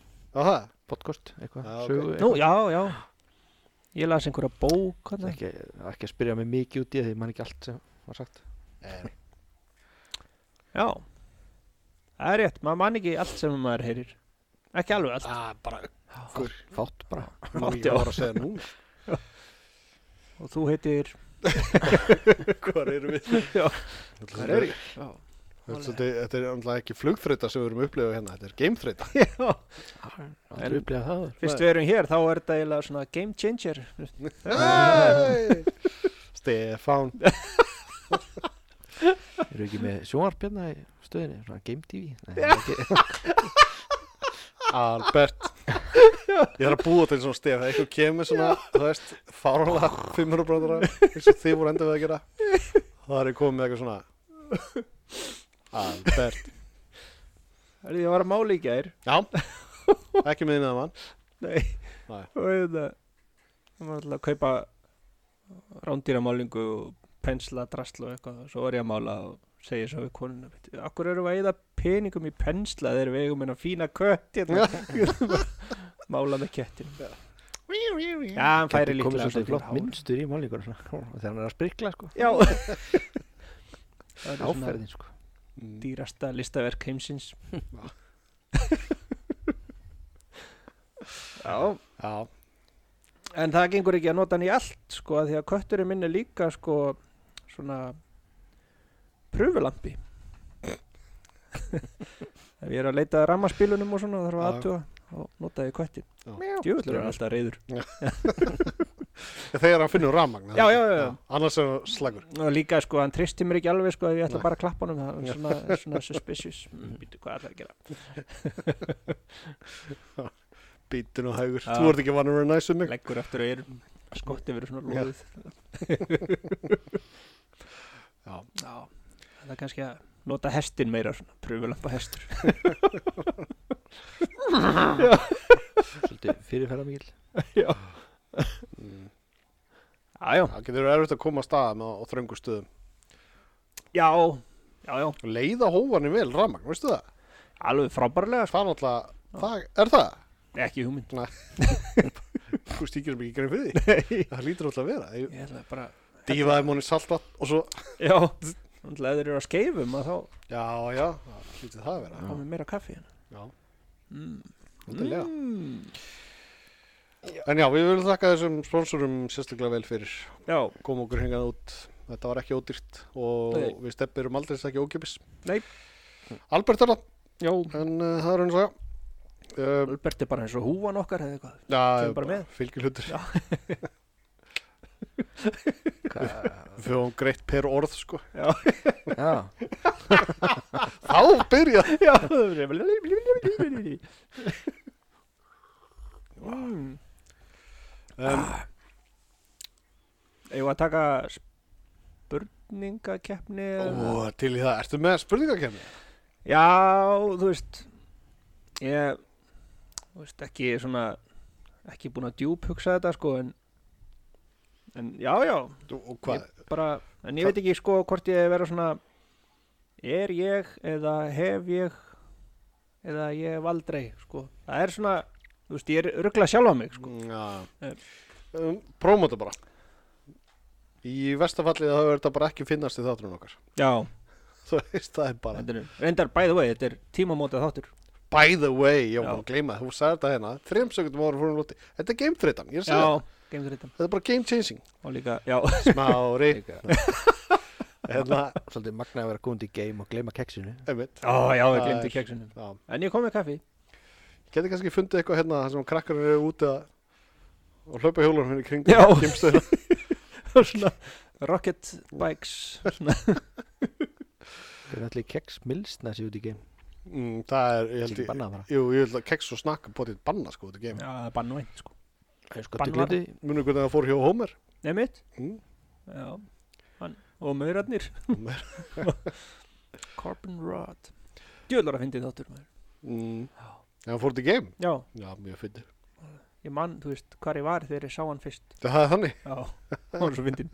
Speaker 1: það,
Speaker 3: podcast eitthvað,
Speaker 1: Já, ok.
Speaker 3: sögu
Speaker 2: nú,
Speaker 3: eitthvað
Speaker 2: já, já, ég las einhverja bók, hann,
Speaker 3: ekki, ekki að spyrja mig mikið út í það því mann ekki allt sem var sagt
Speaker 2: já, það er rétt, maður man ekki allt sem maður heyrir, ekki alveg allt,
Speaker 1: það er bara,
Speaker 3: Fátt, fátt bara
Speaker 1: nú
Speaker 2: Átti
Speaker 1: ég
Speaker 2: á.
Speaker 1: var að segja núna.
Speaker 2: og þú heitir,
Speaker 1: Hvar erum við?
Speaker 2: Já.
Speaker 1: Hvar er ég?
Speaker 2: já,
Speaker 1: Þetta er svolítið- þetta er náttúrulega ekki flugþreita sem við erum upplifað hérna, þetta er geimþreita.
Speaker 2: já, En-
Speaker 3: aldrei upplega það áður.
Speaker 2: fyrst við erum hér, þá er þetta eiginlega svona game changer,
Speaker 1: Hey! Stefán,
Speaker 3: eru ekki með sjónvarpjarna í stöðinni svona Game TV Nei, það er ekki-
Speaker 1: Albert. Ég er að búa til svona stef, það eitthvað kemur svona, þú veist, fárala fimmurubróndara, eins og þið voru endur við að gera. Það er ég komið með eitthvað svona, Albert.
Speaker 2: það er því að vara máli í gær,
Speaker 1: Já, ekki með innað mann.
Speaker 2: nei,
Speaker 1: Nei.
Speaker 2: og þetta, það var alltaf að kaupa rándýramálingu og pensla, drasl og eitthvað og svo var ég að mála og segja svo við konuna "Veitu, Akkur eru að eða peningum í pensla þegar við eigum en að fína kött hérna." Mála með kettin Já, hann færi
Speaker 3: Gæti komið
Speaker 2: líklega
Speaker 3: svolítið flott
Speaker 2: hár.
Speaker 3: minnstur í málingur þegar hann er að sprikla sko
Speaker 2: Já Það er svona
Speaker 3: áferðin sko
Speaker 2: dýrasta listaverk heimsins Já
Speaker 1: Já,
Speaker 2: En það gengur ekki að nota hann í allt sko að því að kötturinn minn er líka sko svona pröfulampi Ef ég er að leita að rammaspilunum og svona þarf að
Speaker 1: Já.
Speaker 2: aðtúa og nota ég
Speaker 1: Já.
Speaker 2: köttin Djúvöldur er hann alltaf reyður
Speaker 1: Þegar hann finnur rafmagn
Speaker 2: Já, já, já, já.
Speaker 1: Annars er hann slagur
Speaker 2: og líka sko, hann tristi mér ekki alveg sko, ef ég ætla
Speaker 1: Nei.
Speaker 2: bara að klappa honum það er svona, svona suspicious mm, býtu hvað ætlar að gera
Speaker 1: Bítin og hægur
Speaker 2: Já.
Speaker 1: Þú ert ekki vanur að vera næs um mig
Speaker 2: leggur eftir og erum skotti verið svona
Speaker 1: Já.
Speaker 2: lóðið
Speaker 1: Já.
Speaker 2: já það er kannski að nota hestin meira svona, pröfulampa hestur
Speaker 3: Svolítið fyrirferða mikil
Speaker 1: Mm.
Speaker 2: já, já,
Speaker 1: Það getur verið erfitt að koma að staða með á þröngu stöðum
Speaker 2: já, já, já
Speaker 1: Leiða hófanir vel rafmagn, veistu það?
Speaker 2: alveg frábærlega sko.
Speaker 1: Það er náttúrulega, það er það
Speaker 2: ekki hugmynd
Speaker 1: Þú stíkir sem ekki grein fyrir því Það lítur alltaf að vera Ég-
Speaker 2: ég ætla bara
Speaker 1: Dífaði móni saltvatn og svo
Speaker 2: já, náttúrulega ef þeir eru að skeifum að þá
Speaker 1: Já, já, það lítið það að vera
Speaker 2: komið meira kaffi hérna
Speaker 1: Já,
Speaker 2: mm.
Speaker 1: hundilega
Speaker 2: Mm.
Speaker 1: En já, við viljum þakka þessum sponsorum sérstaklega vel fyrir
Speaker 2: já,
Speaker 1: Kom okkur hengað út, þetta var ekki ódýrt Og
Speaker 2: Nei.
Speaker 1: við steppirum aldrei ekki ókjöpis
Speaker 2: Nei.
Speaker 1: Albert er það,
Speaker 2: já,
Speaker 1: en uh, það er hann svo já uh,
Speaker 2: Albert er bara eins og húan okkar eða eitthvað
Speaker 1: Já,
Speaker 2: Kemur bara með.
Speaker 1: fylgilhutur
Speaker 2: Já.
Speaker 3: Hva-
Speaker 1: Við höfum greitt per orð, sko
Speaker 3: Já,
Speaker 1: Þá byrja
Speaker 2: Já, það er vel- Mm.
Speaker 1: um,
Speaker 2: Eigum við að taka spurningakeppni eða-
Speaker 1: Ó, til í það, ertu með spurningakefni?
Speaker 2: Já, þú veist Ég Þú veist, ekki svona Ekki búin að djúb hugsa þetta sko En, en já, já
Speaker 1: Og hvað?
Speaker 2: Ég bara, En ég veit ekki sko hvort ég vera svona Er ég eða hef ég Eða ég hef aldrei sko Það er svona Þú veist, ég er ruggla sjálfa mig sko
Speaker 1: Já
Speaker 2: Eh.
Speaker 1: um, Prómóta bara Í verstafallið það verður þetta bara ekki finnast í þáttunum okkar
Speaker 2: Já,
Speaker 1: Þú veist, það er bara
Speaker 2: þetta er, reyndar by the way, þetta er tímamóta þáttur
Speaker 1: By the way, ég
Speaker 2: Já.
Speaker 1: var að gleyma það, þú sagði þetta hérna Þrem sekundum ára fórum lóti Þetta er game threatan, ég er að segja
Speaker 2: Já,
Speaker 1: það
Speaker 2: Games Ritam
Speaker 1: Þetta er bara game changing
Speaker 2: Og líka, já,
Speaker 1: Smári,
Speaker 3: líka
Speaker 1: hérna,
Speaker 3: Svolítið magnaði að vera góðund í game og gleyma keksinu
Speaker 1: einmitt
Speaker 2: já, já, ég
Speaker 1: Það
Speaker 2: glemdi
Speaker 1: er-
Speaker 2: keksunum
Speaker 1: Já,
Speaker 2: En ég kom með kaffi
Speaker 1: geti kannski fundið eitthvað hérna þar sem krakkar eru úti að og hlaupa hjólunum hérna í kring
Speaker 2: Já.
Speaker 1: geimstöðina.
Speaker 2: svona, Rocket Bikes svona.
Speaker 3: Það er allir keks milsna sér út í game
Speaker 1: mm, Það er, ég held
Speaker 3: Ekki
Speaker 1: ég
Speaker 3: bannað bara
Speaker 1: Jú, ég held að keks og snakka potið banna sko þetta game
Speaker 2: Já, það er bannvænt sko
Speaker 3: Það er
Speaker 2: Bannað.
Speaker 3: skottu gluti
Speaker 1: Munum hvernig það fór hjá Homer
Speaker 2: Nei mitt?
Speaker 1: Mm.
Speaker 2: Já, hann, og maurarnir
Speaker 1: Homer
Speaker 2: Carbon Rod Djöðlar að fyndi þáttur maður
Speaker 1: Mm.
Speaker 2: Já.
Speaker 1: En hann fór þetta í game?
Speaker 2: Já,
Speaker 1: Já, mjög fyrir.
Speaker 2: ég mann, þú veist, hvar ég var þegar ég sá hann fyrst
Speaker 1: Það er þannig.
Speaker 2: Já, hann var svo fyndin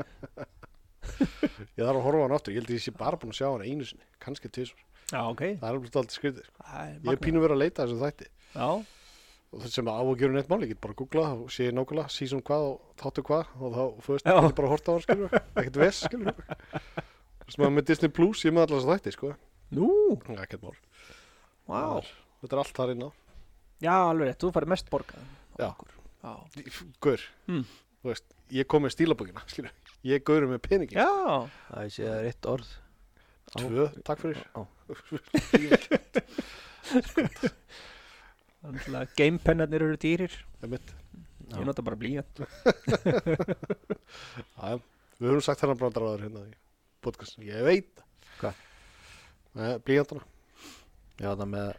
Speaker 1: Ég þarf að horfa á hann aftur. Ég held að ég sé bara búin að sjá hann einu sinni. kannski tvisvar.
Speaker 2: Já, ok
Speaker 1: Það er alveg alltaf skrítið. sko.
Speaker 2: Það er
Speaker 1: Ég er
Speaker 2: magnað.
Speaker 1: pínu verið að leita að þessum þætti.
Speaker 2: Já,
Speaker 1: Og það sem á að gera neitt mál. Ég get bara að googla og sé nákvæmlega, season hvað og þáttu hvað. Og þá, þú veist,
Speaker 2: Já.
Speaker 1: ég get bara að horta á hann, skilur. Ekkert ves, skilur. Sem að með Disney Plus, ég er með alltaf þætti, sko.
Speaker 2: nú,
Speaker 1: Það er Ekkert mál.
Speaker 2: vá
Speaker 1: Það er- Þetta er allt þar inn á.
Speaker 2: Já, alveg rétt, þú farið mest borgað
Speaker 1: Já.
Speaker 2: Okkur. Já,
Speaker 1: Gaur,
Speaker 3: Hmm.
Speaker 2: Mm.
Speaker 1: þú veist, ég kom með stílabókina, skilur. Ég er gaurinn með peningin.
Speaker 2: já
Speaker 3: Það sé það er eitt orð
Speaker 1: Tvö, takk fyrir.
Speaker 3: Á.
Speaker 2: Þannig að gamepennarnir eru dýrir
Speaker 1: Það er mitt.
Speaker 3: Já.
Speaker 2: Ég nota bara blíjant
Speaker 1: Já, við höfum sagt þennan brandaráður hérna í podcastinu, ég veit það. Eh,
Speaker 3: Hvað?
Speaker 1: Nei, blíjandana.
Speaker 3: Já, það með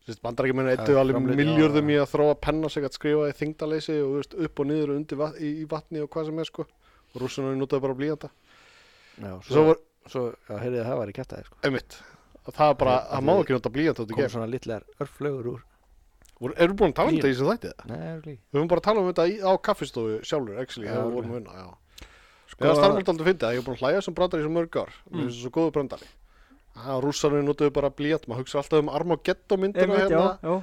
Speaker 1: Sérst, bandarækjumenn eittu
Speaker 3: Já,
Speaker 1: alveg
Speaker 3: framleitt-
Speaker 1: miljörðum
Speaker 3: já,
Speaker 1: í að þróa penna sig að skrifa í þingdaleysi og þú veist, upp og niður og undir vatni, í vatni og hvað sem er sko. Og rússunarinn notaði bara blíjanda.
Speaker 3: Já,
Speaker 1: Svo var,
Speaker 3: svo já, heyrðið að það var í kæftæði sko
Speaker 1: einmitt, að það er bara,
Speaker 3: Allir-
Speaker 1: það má ekki nota blíjanda út í
Speaker 3: Kom
Speaker 1: geim.
Speaker 3: svona litlar örflögur úr
Speaker 1: Voru- Erum við búin að tala um þetta í þessu þætti það?
Speaker 3: Nei, örflí
Speaker 1: Við höfum bara að tala um þetta í, á kaffistofu sjálfur, actually,
Speaker 3: Já,
Speaker 1: þegar við
Speaker 3: alveg.
Speaker 1: vorum að vinna, já. Sko,
Speaker 2: Sko-
Speaker 1: það starfum alltaf að finna að ég er búin að hlæja sem brandari í svo mörg ár. Mér
Speaker 2: Mm.
Speaker 1: finnst það svo góðu brandari. Það rússarnir notuðu bara blíjant, maður hugsa alltaf um Armageddon myndina
Speaker 2: Einmitt,
Speaker 1: hérna,
Speaker 2: já, já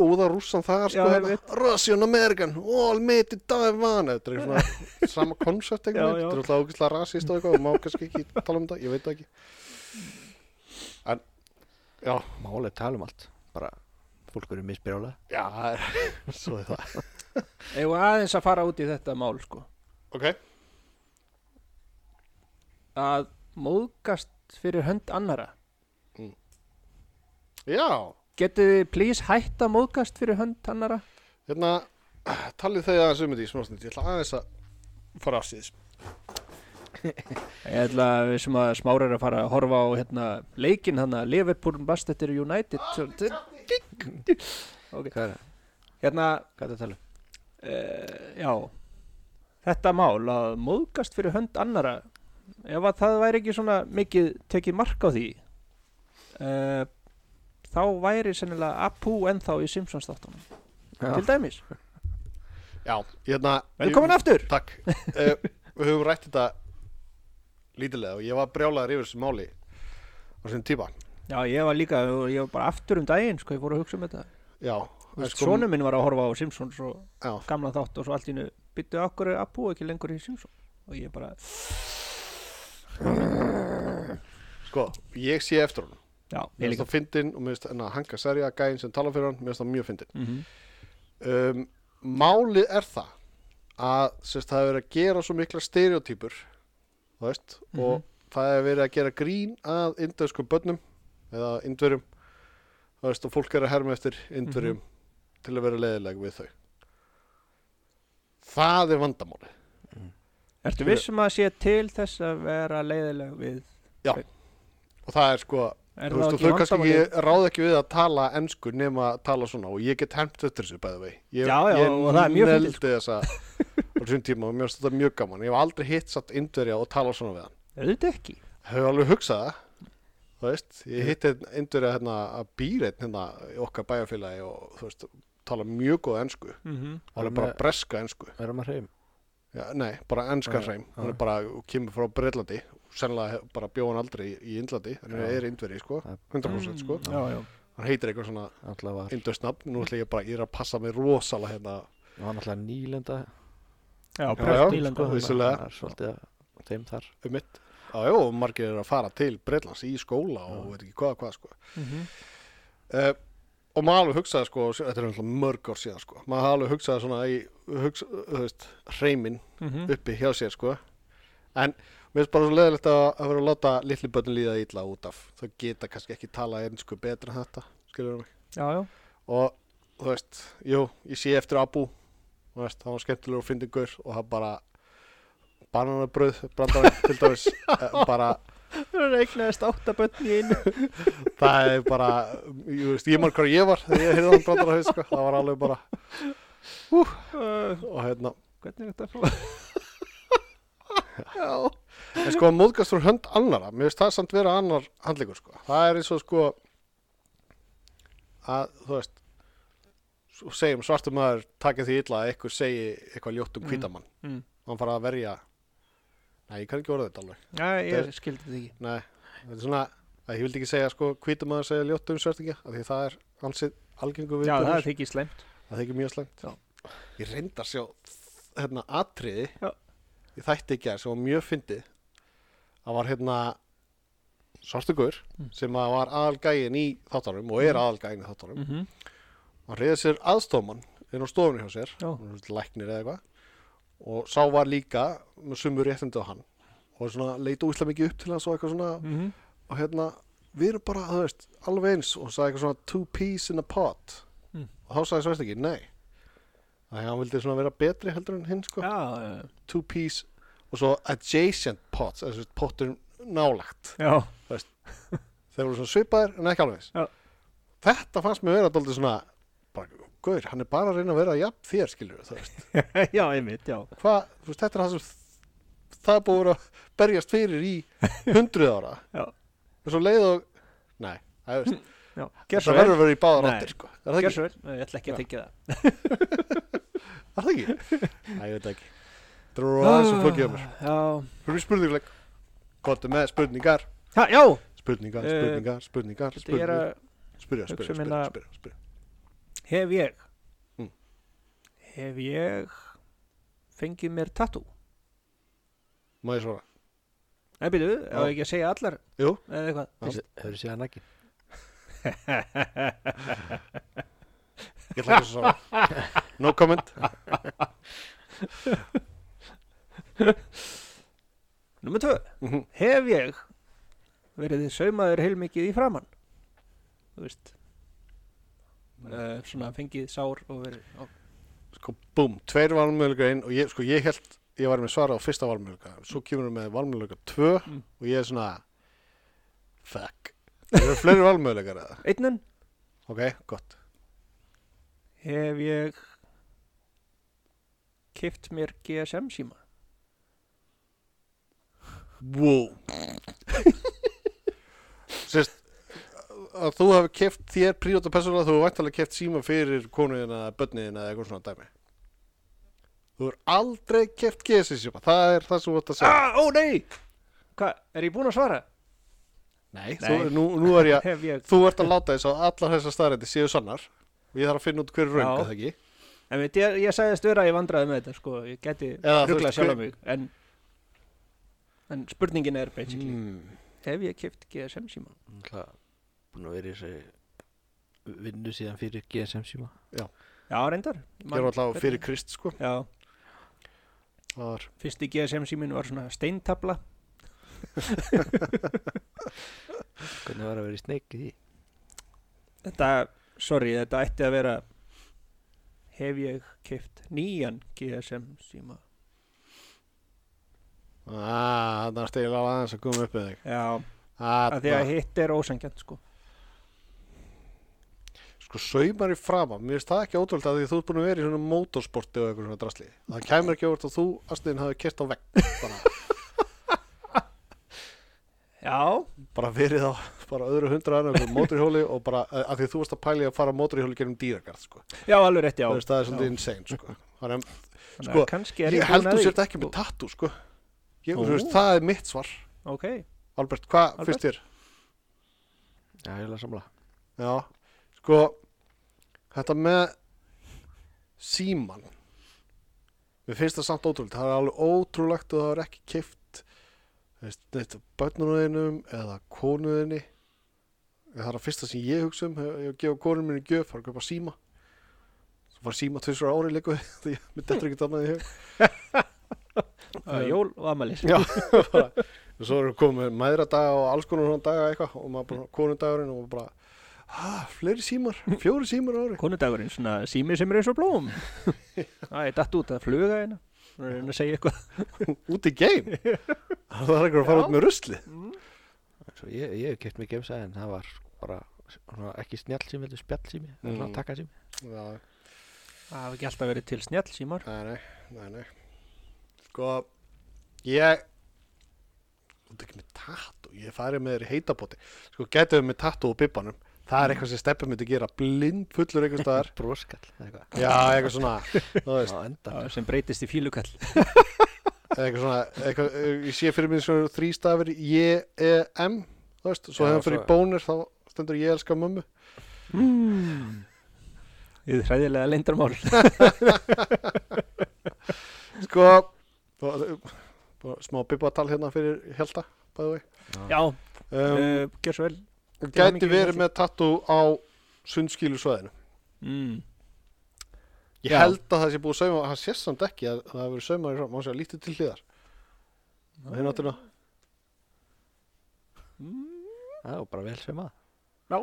Speaker 1: óða rússan þar sko
Speaker 2: Já,
Speaker 1: hérna,
Speaker 2: einmitt.
Speaker 1: Russian American, all made in Taiwan, þetta er svona sama koncept
Speaker 2: Já,
Speaker 1: eitthvað,
Speaker 2: já.
Speaker 1: þetta er alltaf ógæslega rasist og eitthvað og má kannski ekki tala um þetta, ég veit það ekki. En, já,
Speaker 3: Málega tala um allt Bara fólk verið misbrjála
Speaker 1: já, það er, svo er það.
Speaker 2: Eða aðeins að fara út í þetta mál sko
Speaker 1: Ok,
Speaker 2: Að móðgast fyrir hönd annara
Speaker 1: já,
Speaker 2: Getið þið please hætta að móðgast fyrir hönd annara?
Speaker 1: hérna, talið þegar aðeins um þetta í smásnitt, ég ætla aðeins að
Speaker 4: frasið
Speaker 2: Ég ætla að við sem að smárar að fara að horfa á hérna, leikinn hann að Liverpool Manchester United svo-
Speaker 3: Hvað er,
Speaker 2: Hérna,
Speaker 3: hvað er það að tala um?
Speaker 2: uh, já Þetta mál að móðgast fyrir hönd annara ef að það væri ekki svona mikið tekið mark á því uh, þá væri sennilega Apu ennþá í Simpsons þáttunum til dæmis
Speaker 1: Já, hérna
Speaker 2: Velkomin
Speaker 1: ég,
Speaker 2: aftur
Speaker 1: Takk uh, Við höfum rætt þetta lítilega og ég var brjálaður yfir þessu máli á sinni tíma
Speaker 2: Já, ég var líka, ég var bara aftur um daginn sko, ég fór að hugsa um þetta
Speaker 1: Já, en sko-
Speaker 2: Sónu minn var að horfa á Simpsons og
Speaker 1: já,
Speaker 2: gamla þátt og svo allt í nu byttu okkur að búa ekki lengur í Simpson og ég bara,
Speaker 1: sko, ég sé eftir honum
Speaker 2: já, ég
Speaker 1: Mér finnst
Speaker 2: líka
Speaker 1: það fyndin og mér finnst hann að hanga serja gæinn sem tala fyrir hann, mér finnst það mjög fyndin
Speaker 2: mm
Speaker 1: um, Málið er það að sérst, það hefur verið að gera svo mikla stereotypur þú veist, og það hefur verið að gera grín að indverskum börnum eða indverjum þú veist, og fólk er að herma eftir indverjum til að vera leiðileg við þau Það er vandamáli
Speaker 2: Ertu vissum að sé til þess að vera leiðileg við
Speaker 1: og það er sko,
Speaker 2: Er
Speaker 1: þú
Speaker 2: það
Speaker 1: veist, og
Speaker 2: ekki
Speaker 1: þau kannski
Speaker 2: vandamálið?
Speaker 1: ekki, ráð ekki við að tala ensku nema að tala svona og ég get hemmt eftir þessu bæði vei ég,
Speaker 2: Já, já,
Speaker 1: ég
Speaker 2: og það er mjög fyndið, sko.
Speaker 1: negldi þessa á þessum tíma og mér finnst þetta mjög gaman ég hef aldrei hitt satt indverja og tala svona við hann
Speaker 2: Auðvitað ekki
Speaker 1: hefur alveg hugsað það þú veist, ég hitti einn indverja hérna að býr einn hérna í okkar bæjarfélagi og þú veist, tala mjög góð ensku
Speaker 2: mm -hmm.
Speaker 1: hann er
Speaker 3: Með-
Speaker 1: bara breska ensku
Speaker 3: Er það maður hreim?
Speaker 1: já, nei, bara enska
Speaker 3: Já,
Speaker 1: hreim
Speaker 3: já.
Speaker 1: hann er bara, kemur frá Breitlandi sennilega hef- bara bjó hann aldrei í- í Indlandi hann
Speaker 3: Já.
Speaker 1: er indveri, sko,
Speaker 3: Það-
Speaker 1: 100% sko
Speaker 2: Mm. Já, já
Speaker 1: hann heitir eitthvað svona
Speaker 3: Alltaf var,
Speaker 1: industnafn, nú ætla ég bara, ég er að passa mig rosalega hérna,
Speaker 3: það var alltaf nýlenda
Speaker 2: Já,
Speaker 1: já,
Speaker 2: brett nýlenda
Speaker 1: sko,
Speaker 2: sko,
Speaker 1: vissu- vissulega.
Speaker 3: Það er svolítið að þeim þar
Speaker 1: um mitt jájó, og margir eru að fara til Breitlands í skóla og veit ekki hvað, hvað sko
Speaker 2: Mhm.
Speaker 1: uh, og maður alveg hugsaði sko, þetta er náttúrulega mörg ár síðan sko, maður alveg hugsaði svona í, hugsa, þú veist, hreimin
Speaker 2: Mm. Mhm.
Speaker 1: uppi hjá sér sko en mér finnst bara svo leðilegt að, að vera að láta litli börn líða illa út af þau geta kannski ekki tala einsku betra en þetta skilur mig
Speaker 2: Já, já
Speaker 1: og þú veist, jú, ég sé eftir Abu þú veist, það var skemmtilegur og fyndin gaur og það bara bananabröð, brandarinn til dæmis eh, bara,
Speaker 2: Það er eignast áttabötn í einu
Speaker 1: það er bara ég veist, ég marg hvað ég var þegar ég heyrði hann brandarinn, sko, það var alveg bara
Speaker 2: uh,
Speaker 1: og hérna,
Speaker 2: Hvernig er þetta frá? já
Speaker 1: en sko að móðgast úr hönd annara, mér finnst það samt vera annar handleikur, sko, það er eins og sko að, þú veist svo segjum svartum maður takið því illa að eitthvað segi eitthvað ljótt um
Speaker 2: Mm.
Speaker 1: hvítamann
Speaker 2: mm.
Speaker 1: hann fara að verja nei, ég kann ekki orða þetta alveg
Speaker 2: Já, ég skildi þetta ekki
Speaker 1: Nei, þetta er svona að ég vildi ekki segja sko hvítum að segja ljótt um svörtingja af því það er ansið algengu við
Speaker 2: Já, það er ekki slæmt
Speaker 1: það þykir mjög slæmt
Speaker 2: Já.
Speaker 1: Ég reyndar sjá hérna atriði
Speaker 2: Já.
Speaker 1: ég þætti ekki að sem var mjög fyndið það var hérna svartugur
Speaker 2: Mm.
Speaker 1: sem að var aðalgægin í þáttarum og er aðalgægin í þáttarum
Speaker 2: mm -hmm.
Speaker 1: hann reyði sér aðstofmann inn á stofunni hjá sér
Speaker 2: Já.
Speaker 1: hann er læknir eða eitthvað og sá var líka með sumur réttindi á hann og svona leita úslega mikið upp til hans og eitthvað svona
Speaker 2: Mhm.
Speaker 1: og hérna, við erum bara, þú veist, alveg eins og sagði eitthvað svona two peas in a pot
Speaker 2: Mm.
Speaker 1: og þá sagði Svæst ekki, nei þannig að hann vildi svona vera betri heldur en hinn sko,
Speaker 2: Já, já,
Speaker 1: two peas og svo adjacent pots, þessi pottur nálagt,
Speaker 2: já
Speaker 1: þeir voru svona svipaðir en ekki alveg eins
Speaker 2: Já.
Speaker 1: þetta fannst mér vera dálítið svona bara, guður, hann er bara að reyna að vera jafn þér skilur, þú veist,
Speaker 2: Já, einmitt, já
Speaker 1: hvað, þú veist, þetta er það sem það er búið að vera að berjast fyrir í hundruð ára
Speaker 2: Já.
Speaker 1: og svo leið og, nei, það er
Speaker 2: Já, gerð
Speaker 1: Þetta
Speaker 2: svo vel
Speaker 1: verður að vera í báðar
Speaker 2: Nei.
Speaker 1: áttir sko. Er það
Speaker 2: Gerð
Speaker 1: ekki?
Speaker 2: svo vel, Nei, ég ætla ekki að þykja það
Speaker 1: Er það ekki? Æ, ég veit það ekki. Þetta voru
Speaker 2: Ah.
Speaker 1: aðeins og flókið á mér.
Speaker 2: Já,
Speaker 1: Fyrir spurningleik. Kottu með spurningar,
Speaker 2: já, já.
Speaker 1: spurningar,
Speaker 2: Eh,
Speaker 1: spurningar, spurningar,
Speaker 2: Viltu ég er
Speaker 1: spurningar.
Speaker 2: að
Speaker 1: Spurja, spurja,
Speaker 2: hugsa um
Speaker 1: spurja,
Speaker 2: hérna-
Speaker 1: spurja, spurja.
Speaker 2: Hef ég
Speaker 1: Mm.
Speaker 2: Hef ég Fengið mér tattoo
Speaker 1: Má ég svara?
Speaker 2: Nei, býtu,
Speaker 1: Já.
Speaker 2: á ekki að segja allar
Speaker 1: Jú.
Speaker 2: Eða eitthvað
Speaker 3: Hefur séð hann ekki?
Speaker 1: Ég ætla ekki að svara. No comment.
Speaker 2: Númer tvö
Speaker 1: Mhm.
Speaker 2: Hef ég Verið þið saumaður heilmikið í framann Þú veist
Speaker 1: Mm.
Speaker 2: uh, Svona fengið sár og verið á.
Speaker 1: Sko, búm, tveir var alveg einn og ég, sko, ég held ég var með svara á fyrsta valmjölka svo kemur hann með valmjölka 2
Speaker 2: Mm.
Speaker 1: og ég er svona fuck, það eru fleiri valmjölkar eða
Speaker 2: Einnan
Speaker 1: ok, gott
Speaker 2: hef ég kift mér GSM síma.
Speaker 1: wow sérst að þú hafi keft þér príóta persónulega þú hefur væntalega keft síma fyrir konuðina bönniðina eða eitthvað svona dæmi þú hefur aldrei keft GSI síma, það er það sem þú vart að segja
Speaker 2: Ah, ó nei! Hvað, er ég búinn að svara?
Speaker 1: nei,
Speaker 2: Nei.
Speaker 1: Þú, nú, nú er ég að
Speaker 2: Hef ég,
Speaker 1: þú ert að láta þess að allar þessar staðrætti séu sannar og ég þarf að finna út hverju
Speaker 2: Já.
Speaker 1: raung að það ekki
Speaker 2: en veit, ég, ég sagðist vera að ég vandraði með þetta, sko, ég geti
Speaker 1: Eða, þú
Speaker 2: ruglað
Speaker 1: veist,
Speaker 2: sjálf
Speaker 1: hver-
Speaker 2: mig, en, en spurningin er basically,
Speaker 1: mm.
Speaker 2: hef ég kift GSM síma?
Speaker 3: Náttúrulega búin að vera í þessu vinnu síðan fyrir GSM síma
Speaker 2: Já, reyndar.
Speaker 1: ég er alltaf fyrir krist sko
Speaker 2: Já,
Speaker 1: það var
Speaker 2: fyrsti GSM símin var svona steintabla.
Speaker 3: Hvernig var að vera í sneik í því?
Speaker 2: Þetta, sorry, þetta ætti að vera, hef ég kift nýjan GSM síma?
Speaker 1: Ah, þannig að stegið lág aðeins að koma upp með þig
Speaker 2: Já, að því að
Speaker 1: Þarna.
Speaker 2: hitt er ósangjant, sko.
Speaker 1: Sko saumar í frama, mér finnst það ekki ótrúlega að því að þú ert búin að vera í svona motorsporti og eitthvað svona drasli Það kæmur ekki óvart að þú, Astiðin, hafi kert á vegg bara,
Speaker 2: Já,
Speaker 1: bara verið á bara öðru hundra annar einhverjum mótorhjóli og bara eh, að því að þú varst að pæli að fara á mótorhjóli gerum dýragarð sko.
Speaker 2: já, alveg rétt, já.
Speaker 1: Það er staðið
Speaker 2: Já.
Speaker 1: svolítið insane sko. Þannig,
Speaker 2: Þannig
Speaker 1: sko,
Speaker 2: að kannski er
Speaker 1: að
Speaker 2: ég
Speaker 1: Ég held
Speaker 2: búinn að
Speaker 1: þú
Speaker 2: því.
Speaker 1: sért ekki með tattoo sko. ég,
Speaker 2: Ó.
Speaker 1: þú veist, Það er mitt svar
Speaker 2: Ok,
Speaker 1: Albert, hvað
Speaker 2: Albert?
Speaker 1: finnst þér?
Speaker 3: Já, ég er að samla
Speaker 1: Já, sko Þetta með síman Mér finnst það samt ótrúlegt Það er alveg ótrúlegt að það er ekki keift neitt bönnunum eða konuðinni Það er að fyrsta sem ég hugsa um Ég hef gefa konunum minni gjöf, fara að kaupa síma Svo fara síma tvisur ári líka því að mér dettur ekki þannig í hug
Speaker 2: uh, jól og amalis.
Speaker 1: Já, bara og svo erum við komið með mæðradaga og alls konar svona daga eitthvað og maður bara konundagurinn og maður bara ah, fleiri símar, fjóri símar á ári
Speaker 2: Konudagurinn, svona sími sem er eins og blóm. Það er datt út að fluga hérna. Það er að segja eitthvað.
Speaker 1: út í geim það er eitthvað að fara út með rusli
Speaker 3: Svo ég, ég hef keft mig gemsa en það var bara svona, ekki snjall sími, heldur spjall sími
Speaker 1: Mm.
Speaker 3: mm. svona takka sími
Speaker 1: já,
Speaker 2: Það hafa ekki alltaf verið til snjall símar.
Speaker 1: nei, nei, nei, nei sko ég þú ert ekki með tattoo, ég hef farið með þér í heitabóti sko getum við með tattoo og bibbanum það er eitthvað sem steppum myndi gera blind fullur einhvers staðar
Speaker 3: broskall eða eitthvað
Speaker 1: já, eitthvað svona, þú veist
Speaker 3: á enda
Speaker 2: Já, sem breytist í fílukall.
Speaker 1: eitthvað svona, eitthvað, ég sé fyrir mér svona þrýstafir J-E-M E þú veist, svo
Speaker 3: Já,
Speaker 1: hefum fyrir
Speaker 3: svo-
Speaker 1: bónir þá stendur ég elska mömmu
Speaker 2: Mm. Þið hræðilega leindarmál.
Speaker 1: sko bara- bara smá bibbatal hérna fyrir Hjelta, bæðu vei
Speaker 2: Já,
Speaker 1: um,
Speaker 2: uh, gerð svo vel.
Speaker 1: uh,
Speaker 2: til
Speaker 1: gæti
Speaker 2: hamingju,
Speaker 1: verið
Speaker 2: Hjalti.
Speaker 1: með tattoo á sundskílu svæðinu
Speaker 2: Mm.
Speaker 1: ég
Speaker 2: Já.
Speaker 1: held að það sé búið sauma hann sést samt ekki að það hefur verið sauma mann sé að lítið til hliðar
Speaker 2: Nei.
Speaker 1: hinn áttina
Speaker 3: það var bara vel sem að
Speaker 2: Já,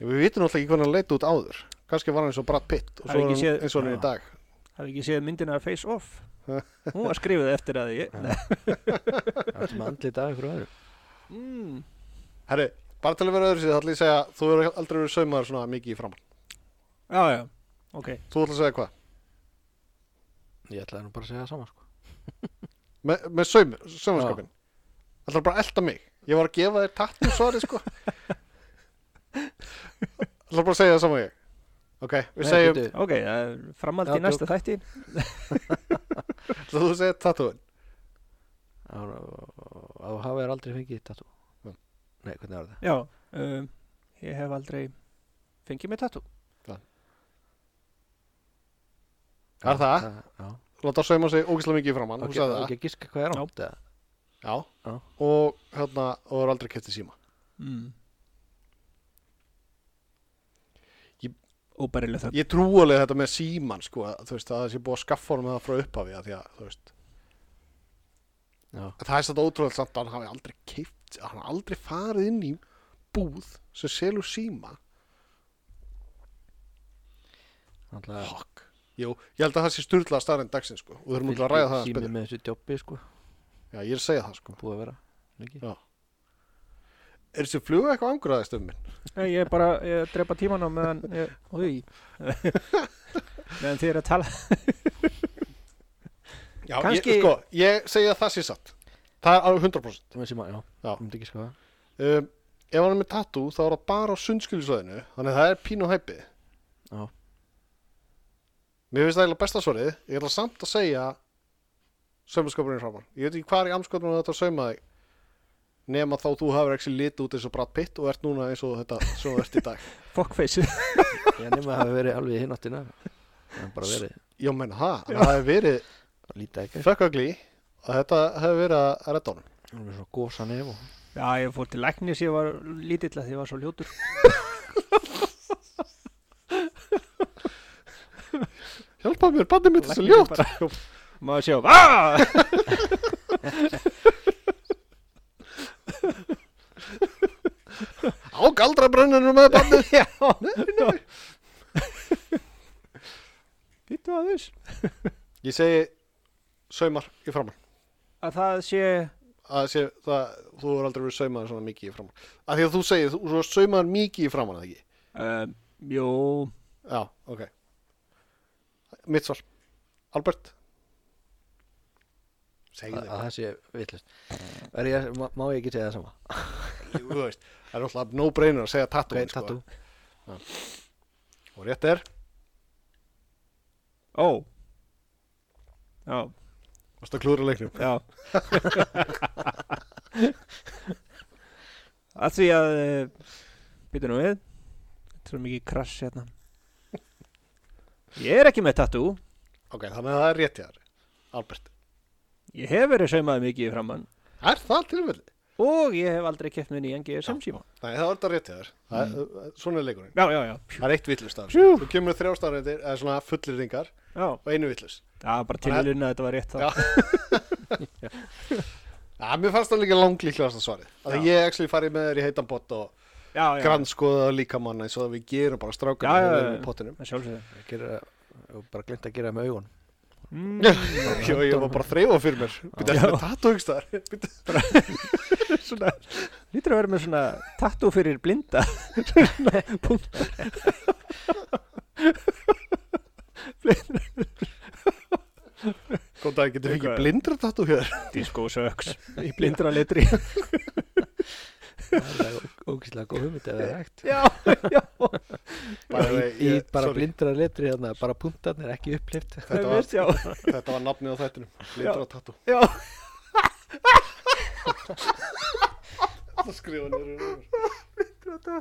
Speaker 1: Ég- við vitum alltaf ekki hvernig hann leita út áður kannski var hann eins og Brad Pitt og
Speaker 2: Hafði
Speaker 1: svo er
Speaker 2: ekki
Speaker 1: hann
Speaker 2: séð-
Speaker 1: eins og hann er í
Speaker 3: Já.
Speaker 1: dag
Speaker 2: hafði ekki séð myndina af Face Off. Hún var skrifuð eftir að ég... Nei.
Speaker 3: það var sem andlit af ykkur öðru
Speaker 2: Mm.
Speaker 1: herri, bara til að vera öðru sér þá ætla ég að segja að þú hefur aldrei verið saumaður svona mikið í framann
Speaker 2: Já, já, ok.
Speaker 1: Þú ætla að segja hvað?
Speaker 3: ég ætlaði nú bara að segja það sama sko
Speaker 1: Me, með saum, saumaskapin ætla bara að elta mig Ég var að gefa þér tattu svarið sko ætla bara að segja það saman ég Ok, við
Speaker 3: Nei,
Speaker 1: segjum,
Speaker 3: bíddu,
Speaker 2: Ok, það er framhald í
Speaker 3: Já,
Speaker 2: næsta þætti
Speaker 1: ætla þú að segja tattúin
Speaker 3: það var- að þú hafa þér aldrei fengið þetta
Speaker 1: Mm.
Speaker 3: nei, hvernig var það
Speaker 2: Já, um, ég hef aldrei fengið mér tattoo
Speaker 1: Það er það.
Speaker 3: já.
Speaker 1: Láta sauma sig ógislega mikið fram hann
Speaker 3: og
Speaker 1: okay, okay.
Speaker 3: ekki að giska hvað er
Speaker 2: Já.
Speaker 3: átt eða
Speaker 1: Já.
Speaker 3: Já.
Speaker 1: Og hérna, og er aldrei kæft í síma
Speaker 2: mm.
Speaker 1: Ég-
Speaker 2: Óbærilega það
Speaker 1: Ég trú alveg þetta með síman sko að, Þú veist, að það sé búið að skaffa honum það frá upphafi að því að, þú veist
Speaker 3: Já.
Speaker 1: En Það er satt ótrúlega samt að hann hafi aldrei kæft Hann hafi aldrei farið inn í búð sem selur síma
Speaker 3: Náttúrulega-
Speaker 1: Fuck. Jú, ég held að það sé styrla starrend dagsins sko og við erum útla að ræða það að
Speaker 3: Síminn með þessu djópi sko,
Speaker 1: Já, ég er að segja það sko
Speaker 3: búið að vera Ekki?
Speaker 1: Er þessi fluga eitthvað angraðist um minn?
Speaker 2: Nei, ég er bara ég er að drepa tíman á meðan ég, Új Meðan þið eru að tala
Speaker 1: Já,
Speaker 2: Kannski-
Speaker 1: ég, sko, ég segja að það sé satt Það er alveg 100%
Speaker 3: Það með síma, já,
Speaker 1: Hm. Já.
Speaker 3: ég myndi ekki sko það
Speaker 1: um, Ef hann er með tattoo þá er það bara á sundskilisvæðinu Þannig að það er pínu hæpið
Speaker 3: Já.
Speaker 1: Mér finnst það eiginlega besta svarið Ég ætla samt að segja Saumaskapurinn framar Ég veit ekki hvað er í amskotunum þetta að sauma þig Nema þá þú hafur ekki litið út eins og Brad Pitt Og ert núna eins og þetta sem þú ert í dag
Speaker 2: Fuckface
Speaker 3: Ég nema að hafa verið alveg í hináttina Það er bara verið,
Speaker 1: Já, menn, ha, það hefur verið
Speaker 3: bara lítið ekki
Speaker 1: Fökkagli og þetta hefur verið að redda honum
Speaker 3: Það er með svona gósa nef og
Speaker 2: Já, ég fór til læknis, ég var lítill að því ég var svo ljótur
Speaker 1: Hjálpa mér, bandið mitt er svo
Speaker 2: Læknirinn
Speaker 1: ljótt
Speaker 2: bara- Maður sjá "Ah!"
Speaker 1: Á galdrabrenninu með bandið
Speaker 2: Já Býttu að þess
Speaker 1: Ég segi saumar í framar
Speaker 2: Að það sé
Speaker 1: að sé, það, þú er aldrei verið saumaður svona mikið í framann að því að þú segir, þú er saumaður mikið í framann eða ekki,
Speaker 2: um, Jú,
Speaker 1: já, ok mitt svar Albert segðu
Speaker 3: að að
Speaker 1: þig,
Speaker 3: það sé vitlust ég, má, má ég ekki segja það sama?
Speaker 1: þú veist það er alltaf no brainer að segja tattoo,
Speaker 3: Grein tattoo
Speaker 1: Sko. og rétt er,
Speaker 2: ó Já,
Speaker 1: varst að klúra leiknum
Speaker 2: já Að því að Býttu nú við Þetta er svo mikið krass hérna Ég er ekki með tattoo
Speaker 1: ok, þannig að það er rétt hjá þér Albert,
Speaker 2: Ég hef verið saumaði mikið í framann
Speaker 1: er það tilfelli?
Speaker 2: og ég hef aldrei keft með nýjan GSM síma
Speaker 1: Nei, það er þetta rétt hjá þér Það er- svona er leikurinn,
Speaker 2: Já, já, já Pjú.
Speaker 1: það er eitt villust af
Speaker 2: Pjú.
Speaker 1: þessu. þú kemur þrjástafnir, eða svona fullirringar
Speaker 2: Já,
Speaker 1: og einu villust
Speaker 2: það var bara tilvílun að þetta var rétt þá
Speaker 1: Já. Já, mér fannst það líka langlíklegast að svarið. Að
Speaker 2: Já.
Speaker 1: ég actually farið með þér í heitan pott og
Speaker 2: já, já,
Speaker 1: grannskoða líkamann eins og að við gerum bara strákar
Speaker 2: Já, já,
Speaker 1: við
Speaker 2: já.
Speaker 1: erum í pottinum.
Speaker 2: að sjálfsögðu
Speaker 3: Ég gerir það, ég hef bara glemt að gera það með augun
Speaker 2: mm.
Speaker 1: Jó, ég var bara að þreifa fyrir mér. Býta,
Speaker 2: Já.
Speaker 1: þetta er tattúingstar.
Speaker 2: svona, Lítur að vera með svona tattoo fyrir blinda Svona, punkt
Speaker 1: Góð dag, getur við ekki
Speaker 2: Eitthvað-
Speaker 1: blindra tattú hér?
Speaker 2: Disco söks í blindra litri
Speaker 3: Það er ógæslega góð hugmynd ef það er hægt
Speaker 2: Já, já
Speaker 1: Bara,
Speaker 3: Í, í
Speaker 1: ég,
Speaker 3: bara
Speaker 1: sorry,
Speaker 3: blindra letri hérna, bara punktarnir ekki upplift
Speaker 1: Þetta
Speaker 2: það
Speaker 1: var-
Speaker 2: veist, já,
Speaker 1: Þetta var nafnið á þættinum. Blindra tattú.
Speaker 2: já
Speaker 1: Það skrifa nýður. Blindra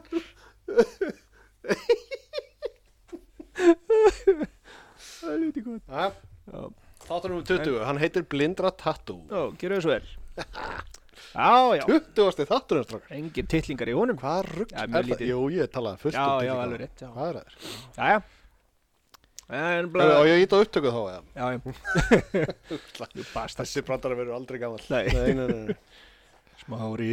Speaker 2: Það er lítið gott
Speaker 1: tattú.
Speaker 2: Já,
Speaker 1: Þáttunum 20, hann heitir Blindra tattú.
Speaker 2: já gerðu þessu vel Já, já
Speaker 1: 20. þáttunum, strákar.
Speaker 2: Engir titlingar í honum
Speaker 1: Hvað rugg
Speaker 2: Já,
Speaker 1: er
Speaker 2: mjög
Speaker 1: það?
Speaker 2: lítið.
Speaker 1: Jú, ég talaði fullt
Speaker 2: Já,
Speaker 1: um
Speaker 2: já,
Speaker 1: tilfinningar.
Speaker 2: alveg rétt, já
Speaker 1: Hvað er það?
Speaker 2: Jæja En
Speaker 1: Hefur-
Speaker 2: blá
Speaker 1: Á ég að íta upptöku þá, eða?
Speaker 2: Já, já Jú, basta
Speaker 1: Þessi brandara verður aldrei gammal
Speaker 2: Nei.
Speaker 1: nei, nei, nei.
Speaker 2: Smári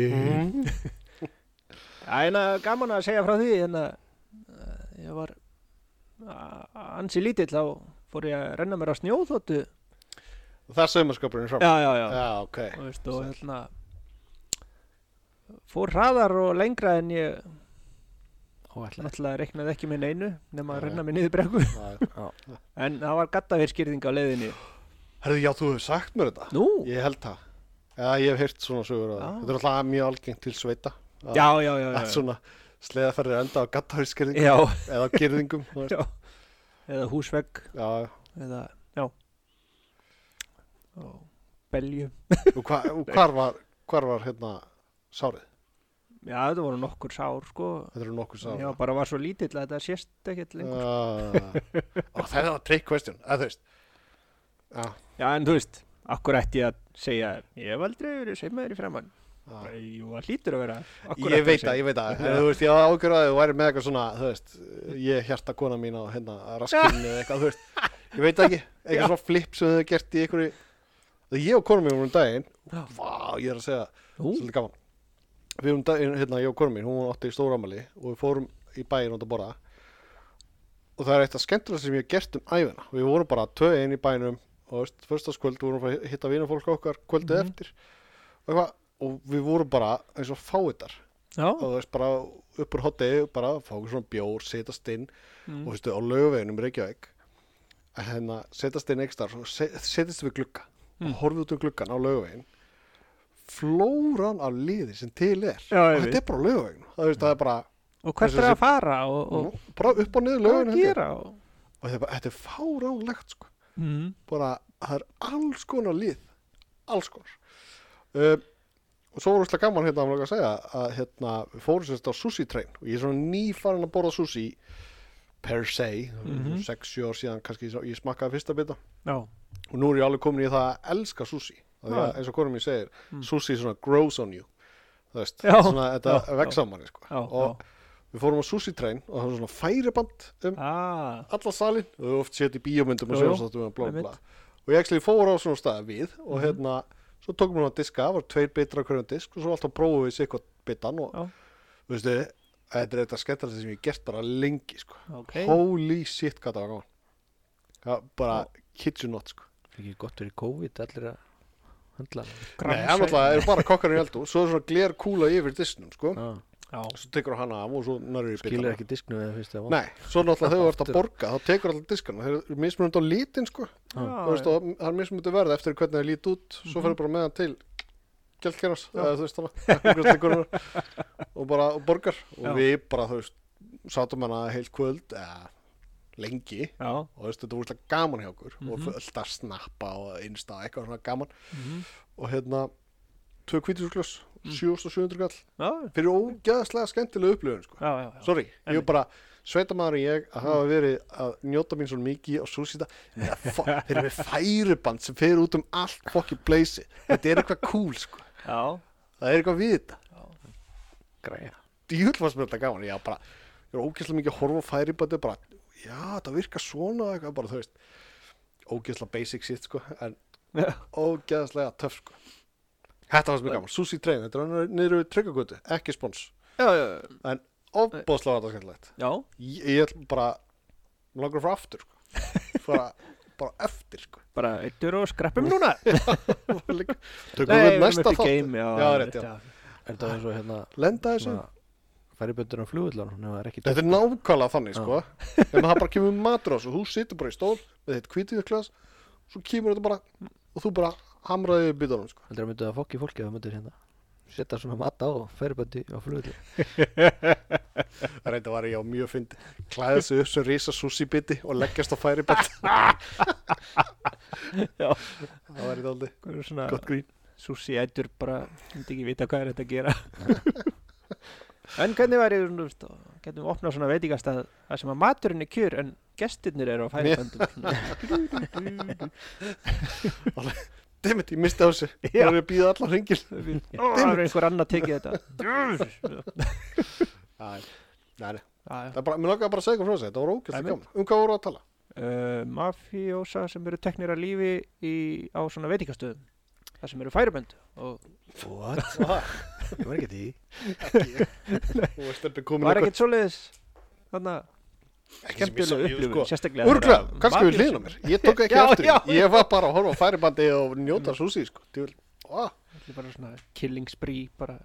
Speaker 2: Það er hérna gaman að segja frá því hérna eh, ég var a- ansi lítill þá fór ég að renna mér á snjóþóttu
Speaker 1: Það er saumaskapurinn fram
Speaker 2: Já, já, já
Speaker 1: já ok
Speaker 2: og, veist, og hérna fór hraðar og lengra en ég
Speaker 3: Óætla
Speaker 2: náttúrulega reiknaði ekki með neinu nema að
Speaker 1: Já, já.
Speaker 2: renna mér niður brekku
Speaker 1: Já.
Speaker 2: en það var gattaverskýrðing á leiðinni
Speaker 1: Herðu, já, þú hefur sagt mér þetta
Speaker 2: Nú,
Speaker 1: Ég held það Já, ég hef heyrt svona sögur á
Speaker 2: Já.
Speaker 1: það Þetta er alltaf mjög algengt til sveita að-
Speaker 2: já, já, já,
Speaker 1: Að
Speaker 2: já,
Speaker 1: svona sleðaferðir enda á gattahausgerðingum
Speaker 2: já.
Speaker 1: Eða á gerðingum þú veist.
Speaker 2: já. eða húsvegg
Speaker 1: Já,
Speaker 2: eða, já og belju
Speaker 1: og, hva, og hvar var, hvar var hérna sárið?
Speaker 2: já þetta voru nokkur sár sko
Speaker 1: Þetta eru nokkuð sárið
Speaker 2: já bara var svo lítill að þetta sést ekkert lengur
Speaker 1: lengur Og Ah. það var trick question Eða þú veist Já,
Speaker 2: já en þú veist, akkur ætti ég að segja ég hef aldrei verið seimaður í framann
Speaker 1: já
Speaker 2: Bara, jú það hlýtur að vera af hverju
Speaker 1: Ég
Speaker 2: ætti
Speaker 1: veit
Speaker 2: segja-
Speaker 1: það, ég veit það, en þú veist, ég var ágjörð að þú væri með eitthvað svona, þú veist, ég hjarta kona mín á hérna raskinn eða eitthvað, þú veist, ég veit það ekki, eitthvað svona flip sem þau hefur gert í einhverju, þegar ég og kona mín vorum um daginn,
Speaker 2: Já.
Speaker 1: vá, ég er að segja,
Speaker 2: Nú,
Speaker 1: svolítið gaman, við um vorum daginn, hérna, ég og kona mín, hún átti í stóramali og við fórum í bæinn átt að borða og það er eitt af skemmtilega sem ég hef gert um æfina við vorum bara töð inn í bænum og þú veist, förstaskvöld vorum við að hitta vinafólk okkar kvöldið
Speaker 2: Mhm.
Speaker 1: eftir og, eitthvað, og við vorum bara eins og fáitar
Speaker 2: Já,
Speaker 1: og þú veist bara uppur hotið bara fá okkur svona bjór, setast inn
Speaker 2: mm.
Speaker 1: og þú veist, á laugaveginum í Reykjavík að hérna setast inn ekstar og se- setist við glugga
Speaker 2: Mm.
Speaker 1: og horfið út um gluggan á laugavegin flóran af liði sem til er
Speaker 2: Já, ég
Speaker 1: og þetta
Speaker 2: veit.
Speaker 1: er bara á laugavegin það, veist, það er bara,
Speaker 2: og hvert
Speaker 1: þessi-
Speaker 2: er að fara og, og
Speaker 1: bara upp og niður
Speaker 2: hvað að
Speaker 1: laugavegin held ég.
Speaker 2: gera og...
Speaker 1: og þetta er, bara, þetta er fáránlegt sko
Speaker 2: mm.
Speaker 1: bara, það er alls konar lið alls konar um, og svo var úrslega gaman hérna að mér langar að segja að hérna, við fórum sérst á sushi train og ég er svona nýfarinn að borða sushi per se,
Speaker 2: Mhm.
Speaker 1: sex, sjö ár síðan kannski ég- ég smakkaði fyrsta bita
Speaker 2: Já,
Speaker 1: og nú er ég alveg komin í það að elska sushi Af því að
Speaker 2: Já.
Speaker 1: eins og hvernig mér segir,
Speaker 2: Ah. Mm.
Speaker 1: sushi svona grows on you það veist,
Speaker 2: Já.
Speaker 1: svona
Speaker 2: Já,
Speaker 1: þetta
Speaker 2: já.
Speaker 1: vex á manni sko.
Speaker 2: já,
Speaker 1: og við fórum á sushi train og það var svona færiband um
Speaker 2: já ah,
Speaker 1: alla salin og við oft setið í bíómyndum og um
Speaker 2: Jú, jú.
Speaker 1: sjónstáttum og blá blá
Speaker 2: Einmitt.
Speaker 1: blá og ég ekki fór á svona staða við og
Speaker 2: Mhm.
Speaker 1: hérna, svo tókum við að diska var tveir bitar á hverjum disk og svo alltaf prófum við sikkot bitan og,
Speaker 2: Já.
Speaker 1: þú veistu þetta er þetta skemmtilegsta sem ég hef gert bara lengi sko.
Speaker 2: ok
Speaker 1: holy shit hvað það var gaman ja, bara kid you not sko.
Speaker 3: Ekki gott fyrir COVID allir að höndla
Speaker 1: nei, það er náttúrulega er bara kokkarinn í eldu svo er svona gler kúla yfir disknum sko.
Speaker 3: ah,
Speaker 2: Já,
Speaker 1: svo tekur hann af og svo nærður í
Speaker 3: Skilur
Speaker 1: bitana
Speaker 3: ekki disknu eða fyrst að
Speaker 1: nei, svo náttúrulega þegar þú ert að
Speaker 3: Aftur.
Speaker 1: borga þá tekur alltaf diskana, þeir eru mismunandi á litin sko.
Speaker 2: já, Mhm.
Speaker 1: Þú veist, og það er mismunandi verð eftir hvernig það lít út svo ferðu bara með hann til gjaldkernas, eða þú veist hana og bara og borgar og
Speaker 2: Já.
Speaker 1: við bara, þú veist, sátum hana heilt kvöld, eða lengi
Speaker 2: já
Speaker 1: og þú veist, þetta voru svolítið gaman hjá okkur og
Speaker 2: Mhm.
Speaker 1: fullt að snappa og innsta og eitthvað svona gaman
Speaker 2: mhm.
Speaker 1: og hérna, tvö kvítisugljós
Speaker 2: Mm.
Speaker 1: 7700 gall,
Speaker 2: Já,
Speaker 1: fyrir ógeðslega skemmtilega upplifun, sko
Speaker 2: já, já, já.
Speaker 1: sorry, ég er bara sveitamaður ég að hafa verið að njóta mín svo mikið og súsita þeir eru með færiband sem fer út um allt fokki pleysi, þetta er eitthvað cool sko.
Speaker 2: já.
Speaker 1: það er eitthvað við þetta
Speaker 3: græja
Speaker 1: djúl var sem þetta gaman, ég var bara ég var ógeðslega mikið að horfa á færibandi bara, já, það virkar svona og eitthvað, bara þú veist ógeðslega basic shit sko, en
Speaker 2: Já.
Speaker 1: ógeðslega töff sko. þetta var sem er gaman, Susi Train þetta er niður við tryggagötu, ekki spons
Speaker 2: Já, já, já.
Speaker 1: ofbóðslega var þetta skemmtilegt
Speaker 2: já,
Speaker 1: ég, ég ætla bara mig langar frá aftur sko. bara, bara eftir sko.
Speaker 2: bara eittur og skreppum núna
Speaker 1: Líka- tökum við næsta
Speaker 2: upp í
Speaker 1: þátt
Speaker 2: game, já,
Speaker 1: Já, rétt, já.
Speaker 3: Er það eins og hérna
Speaker 1: lenda þessu
Speaker 3: Færi böndur á flugullan Nú er ekki
Speaker 1: þetta er nákvæmlega þannig sko. en það bara kemur matur á þessu þú situr bara í stól með þitt kvítiðurklas svo kemur þetta bara og þú bara hamraði í bytunum sko.
Speaker 3: Heldur að myndu það fokki fólki að það myndu hérna Setta svona mat á færi böndi á flugullan
Speaker 1: reynda var ég á mjög fyndi klæða sig upp sem risa sushi biti og leggjast á færi bit
Speaker 2: Já.
Speaker 1: það var þetta aldrei
Speaker 2: Hvað er svona
Speaker 1: gott grín
Speaker 2: Susi eittur bara myndi ekki vita hvað er þetta að gera En hvernig væri þú veist, getum við opnað svona veitingastað það sem að maturinn er kjur en gestirnir eru á færiböndum
Speaker 1: Dammit, ég misti á þessu, það
Speaker 2: Já.
Speaker 1: er að býða allan hringil
Speaker 2: Það er einhver annar tekið þetta
Speaker 1: Nei, nei, nei.
Speaker 2: Já, já.
Speaker 1: Það er bara, mér langaði bara að segja eitthvað frá þessu, þetta var ógæst
Speaker 2: Æmi.
Speaker 1: gaman. Um hvað voru að tala?
Speaker 2: uh, mafíósa sem eru teknir að lífi í, á svona veitingastöðum það sem eru færibönd og
Speaker 3: What?
Speaker 1: Var
Speaker 3: Ég var ekki því
Speaker 1: ekki, þú veist, þetta er komin
Speaker 2: var ekkert svoleiðis þannig að
Speaker 1: ekki sem ég sá, ég, sko,
Speaker 2: sérstaklega
Speaker 1: Úrglega, kannski við hliðin á mér, ég tók ekki
Speaker 2: Já,
Speaker 1: eftir,
Speaker 2: já.
Speaker 1: því. ég var bara að horfa á færibandi og njóta súsi, sko, djúl, á,
Speaker 2: Þetta er bara svona killing spree bara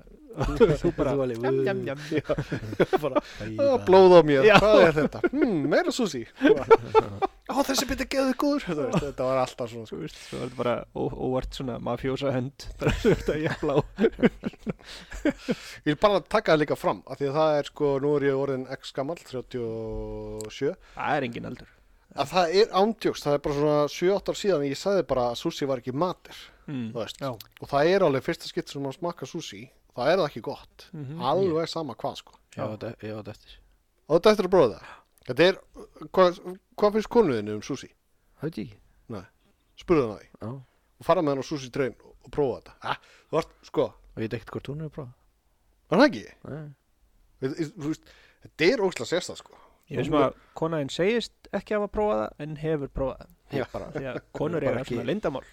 Speaker 3: Þú bara Þú alveg
Speaker 2: jam, jam, jam.
Speaker 1: bara, á,
Speaker 3: jam
Speaker 1: blóð á mér,
Speaker 2: Já.
Speaker 1: hvað er þetta? Hmm, meira súsi, á, þessi biti geðu góður, Þú veist, þetta var alltaf svona, sko.
Speaker 2: Þú veist, svo er þetta bara ó, óvart svona mafjósa hönd bara þú ert að jafla á
Speaker 1: Ég vil bara taka það líka fram, af því að það er, sko, nú er ég orðin x gamall, 37,
Speaker 2: Það er engin aldur
Speaker 1: að það er ándjóks, það er bara svona 7-8 ár síðan ég sagði bara að súsi var ekki matir.
Speaker 2: mm.
Speaker 1: þú veist,
Speaker 2: Já.
Speaker 1: og það er alveg fyrsta skitt sem maður smakka sushi, það er það ekki gott
Speaker 2: Mhm.
Speaker 1: alveg sama hvað sko
Speaker 3: Já, þetta já, þetta eftir
Speaker 1: og þetta eftir að bróða það þetta er, hvað, hvað finnst konuðinu um sushi
Speaker 3: Hauði ekki
Speaker 1: spurðu hann að því
Speaker 3: Já Og
Speaker 1: og fara með hann á sushi train og, og prófa þetta ha, þú veist, sko,
Speaker 3: ég veit ekkert hvort hún er að prófa
Speaker 1: var það ekki
Speaker 3: Nei.
Speaker 1: Við- við- þú veist, þetta er ógslag sérstað sko
Speaker 2: Ég veist maður að konaðin segist ekki hafa prófað það en hefur prófað það
Speaker 1: Já. Bara,
Speaker 2: því að konur
Speaker 3: Bara
Speaker 2: eru
Speaker 3: ekki-
Speaker 2: svona lindamál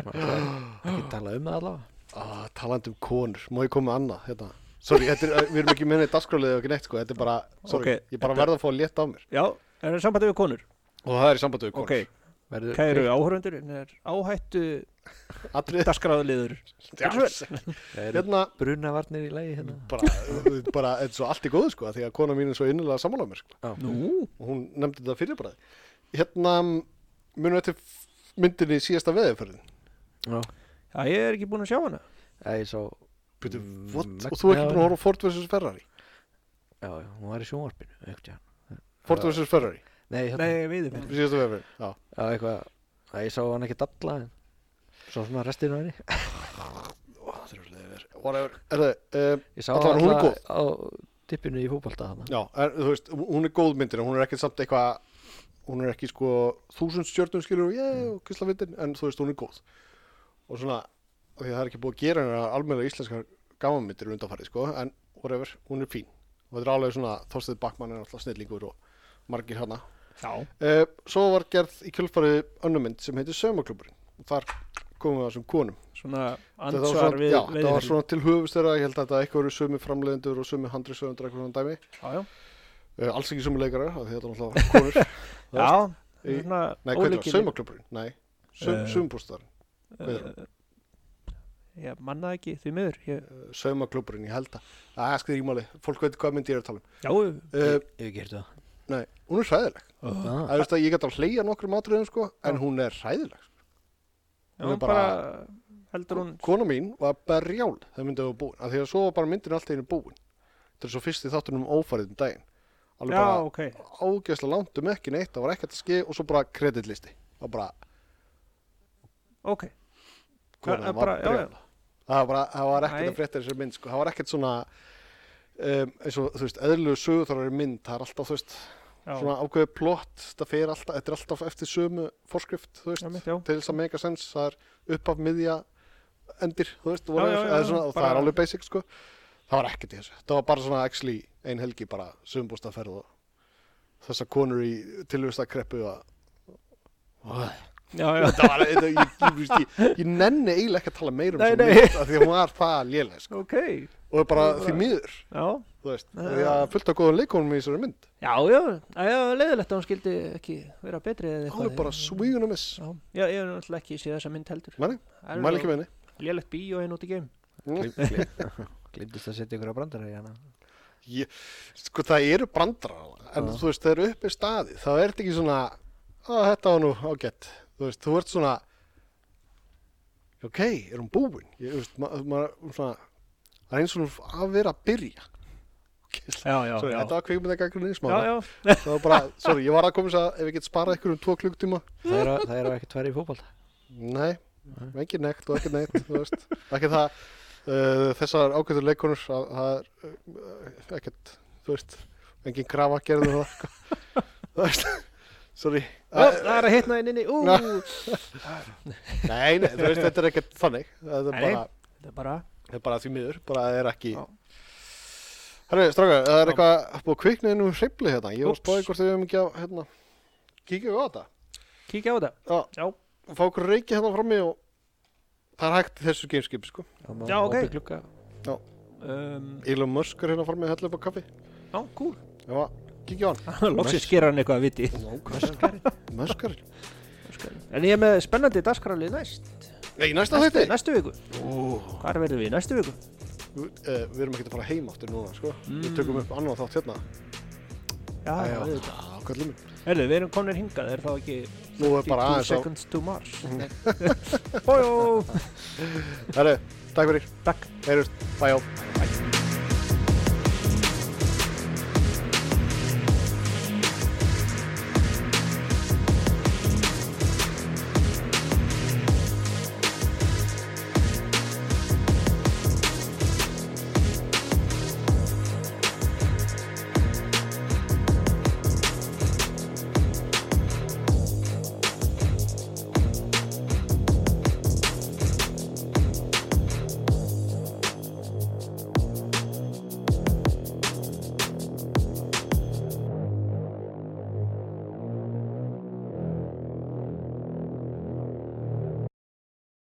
Speaker 3: Maður bara Ekki tala um það allavega
Speaker 1: Ah, að, talandi um konur, má ég koma með annað hérna, Sorry, þetta er, við erum ekki með neitt dasgrálið og ekki neitt sko, þetta er bara, sorry,
Speaker 2: Ok,
Speaker 1: ég bara
Speaker 2: þetta-
Speaker 1: verð að fá að létta á mér
Speaker 2: Já, er það sambandi við konur?
Speaker 1: og það er í sambandi við
Speaker 2: Ok,
Speaker 1: konur.
Speaker 3: Verður,
Speaker 2: kæru áhörundur, en er áhættu
Speaker 1: Atrið,
Speaker 2: dagskráðliður.
Speaker 1: já,
Speaker 3: verður
Speaker 1: hérna,
Speaker 3: brunavarnir í lagi hérna?
Speaker 1: bara, bara, þetta er svo allt í góðu sko, því að kona mín er svo innilega sammála mér sko,
Speaker 2: Nú,
Speaker 1: og hún nefndi þetta fyrir bara. Hérna, munum þetta myndinni í síðasta veðiðferðin.
Speaker 3: Já.
Speaker 2: já, ég er ekki búin að sjá hana.
Speaker 3: Já, ég sá,
Speaker 1: Býtu,
Speaker 3: Mm,
Speaker 1: what?
Speaker 3: megn-
Speaker 1: Og þú er ekki
Speaker 3: já.
Speaker 1: búin að horfa á Ford vs. Ferrari?
Speaker 3: já, já, hún var í sjónvarpinu, eitthvað.
Speaker 1: Ford
Speaker 3: Já.
Speaker 1: vs. Ferrari,
Speaker 3: Nei, hérna,
Speaker 2: Nei, við erum.
Speaker 1: í síðasta veðiðferðin, já.
Speaker 3: já, eitthvað, já, ég sá hann ekki dalla, en svo svona restinu henni.
Speaker 1: Whatever, er það, um,
Speaker 3: Ég sá
Speaker 1: Allavega, hún er
Speaker 3: alla á tippinu í fótbolta þarna.
Speaker 1: Já, er, þú veist, hún er góð myndin hún er ekkert samt eitthvað hún er ekki sko þúsund stjörnum skilur og ég og kysla myndin, en þú veist, hún er góð og svona, af því að það er ekki búið að gera hennar almennilega íslenskar gamanmyndir undanfarið, sko, en whatever, hún er fín og þetta er alveg svona, Þorsteð Bakmann er alltaf snillingur og margir hana
Speaker 2: Já.
Speaker 1: uh, Svo var gerð í kjölfarið önnumynd sem heitir Saumakluburinn og þar komum við að sem konum
Speaker 2: Svona
Speaker 1: Þetta var
Speaker 2: ansvar
Speaker 1: svona-
Speaker 2: við
Speaker 1: Já, það var
Speaker 2: veiðiferðin.
Speaker 1: svona til höfust þeirra, ég held að þetta eitthvað eru sömu framleiðendur og sömu handrisöfundur eitthvað svona dæmi
Speaker 2: Já, já.
Speaker 1: Uh, alls ekki sömu leikarar, af því þetta er náttúrulega konur. Það
Speaker 2: Já,
Speaker 1: Í-
Speaker 2: svona
Speaker 1: Nei, hvað er það?
Speaker 2: ólíkir-
Speaker 1: Saumakluburinn? Nei, sum,
Speaker 2: Eh.
Speaker 1: sumabústaðurinn. hvað er
Speaker 2: Uh, ég manna það ekki því miður. Ég,
Speaker 1: Uh, Saumakluburinn, ég held að. Það er skrið í máli, fólk veit hvað myndi ég er að tala um.
Speaker 2: já, uh,
Speaker 1: Uh,
Speaker 3: Ég hef ekki hirt það.
Speaker 1: nei, hún er hræðileg.
Speaker 3: Ah,
Speaker 1: Það er veist að ég get að hleyja nokkrum atriðum, sko,
Speaker 2: Ah.
Speaker 1: en hún er hræðileg. sko. Hún
Speaker 2: hún
Speaker 1: er
Speaker 2: bara,
Speaker 1: bara,
Speaker 2: heldur hún,
Speaker 1: Kona mín var berjál þegar myndið var búin, af því að svo var bara myndin alltaf einu búin. Þetta er svo fyrst í þáttunum ófærið um daginn. Alveg
Speaker 2: já,
Speaker 1: bara
Speaker 2: ok,
Speaker 1: ágæslega langt um ekki neitt, það var ekkert að skeið og svo bara kreditlisti. Það var bara,
Speaker 2: ok,
Speaker 1: konan
Speaker 2: Eh,
Speaker 1: var
Speaker 2: bara, já,
Speaker 1: brjál það var, bara, það var ekkert
Speaker 2: Æ.
Speaker 1: að frétta í þessari mynd sko. það var ekkert svona um, eins og þú veist, eðlug söguthrárari mynd það er alltaf, þú veist,
Speaker 2: já,
Speaker 1: svona ákveðið plott það fer alltaf, þetta er alltaf eftir sömu forskrift, þú veist,
Speaker 2: Já, mitt, já.
Speaker 1: til þess að mega sens það er upp af miðja endir, þú veist,
Speaker 2: Já,
Speaker 1: já,
Speaker 2: já, já, já,
Speaker 1: svona, og það
Speaker 2: bara-
Speaker 1: er alveg basic, sko það var ekkert í þessu, það var bara svona actually ein helgi bara sömbústaferð og þessar konur í tilvista kreppu að
Speaker 2: já, já,
Speaker 1: það var, þetta, ég, ég, ég, ég, ég nenni eiginlega ekki að tala meira um
Speaker 2: Nei,
Speaker 1: svo
Speaker 2: nei.
Speaker 1: mynd af því að hún var það léleg sko.
Speaker 2: ok,
Speaker 1: og bara
Speaker 2: Bara-
Speaker 1: því miður
Speaker 2: já,
Speaker 1: þú veist,
Speaker 2: Já.
Speaker 1: því að fullt af góðan leikonum í þessari mynd
Speaker 2: já, já, já, já, leiðilegt að hún skildi ekki vera betri eða
Speaker 1: hún
Speaker 2: eitthvað.
Speaker 1: er bara
Speaker 2: Ég-
Speaker 1: svígun og miss
Speaker 2: Já, já, ég hef náttúrulega ekki séð þessa mynd heldur.
Speaker 1: Nei, nei,
Speaker 2: Það er
Speaker 1: mæl
Speaker 2: nú
Speaker 1: ekki með henni
Speaker 2: Lélegt bíó einn út í geim.
Speaker 1: Mm.
Speaker 3: Glimtist Ah, að setja ykkur á hérna. brandara í hana.
Speaker 1: Ég- sko það eru brandarar en
Speaker 3: Já.
Speaker 1: þú veist, það eru uppi staði þá er þetta ekki svona, að þetta var nú ágætt þú veist, þú ert svona ok, er hún búin ég, þú veist, ma- maður svona það er eins og hún að vera að byrja ok, sorry,
Speaker 2: Já, já, já.
Speaker 1: þetta var kvikmyndagagrunni smá
Speaker 2: Já, já,
Speaker 1: það var bara, sorry, ég var að koma þess að ef ég get sparað ykkur um tvo klukktíma
Speaker 3: Það eru- það eru ekki tvær í fótbolta.
Speaker 1: nei, ekki neitt og ekki neitt þú veist, ekki það uh, þessar ágættur leikonur að- það er uh, ekkert þú veist, engin grafa gerðum það sko. þú veist, sorry
Speaker 2: já,
Speaker 1: uh,
Speaker 2: það er að hitna inn inni, ú,
Speaker 1: Já. nei, nei, þú veist, þetta er ekkert þannig það er
Speaker 2: Nei.
Speaker 1: bara,
Speaker 2: þetta er bara,
Speaker 1: það er bara því miður bara það er ekki
Speaker 2: Já.
Speaker 1: Herri, strákar, það er
Speaker 2: Já.
Speaker 1: eitthvað búið að kvikna inn um hreifli hérna. Ég var að
Speaker 2: Úps.
Speaker 1: spáði hvort við hefum ekki að, hérna, kíkja við á þetta.
Speaker 2: kíkja á þetta.
Speaker 1: Já,
Speaker 2: Já,
Speaker 1: fá okkur reiki hérna frammi og það er hægt í þessu gameskipi sko
Speaker 3: Það má
Speaker 2: Já, ok.
Speaker 3: opið glugga.
Speaker 2: um,
Speaker 1: Elon Musk er hérna frammi að hella upp á kaffi
Speaker 2: já, cool.
Speaker 1: Já, kíkja á hann
Speaker 2: Loksins gera hann eitthvað að viti.
Speaker 1: Muskar
Speaker 2: En ég er með spennandi dagskralið næst.
Speaker 1: Nei, í næsta þetta
Speaker 2: Næstu viku. Hvar verðum við í næstu viku?
Speaker 1: eh, Við erum ekki að fara heim aftur núna sko Við tökum upp annan þátt hérna
Speaker 2: Já, já,
Speaker 1: Æ,
Speaker 2: auðvitað.
Speaker 1: Já, kallum minn
Speaker 2: Herðu, við erum komnir hingað, er þá ekki
Speaker 1: Nú er bara
Speaker 2: 52
Speaker 1: aðeins á Mm.
Speaker 2: seconds to Mars? Ójó,
Speaker 1: Herri, takk fyrir
Speaker 2: takk.
Speaker 1: Heyrjumst, bæjá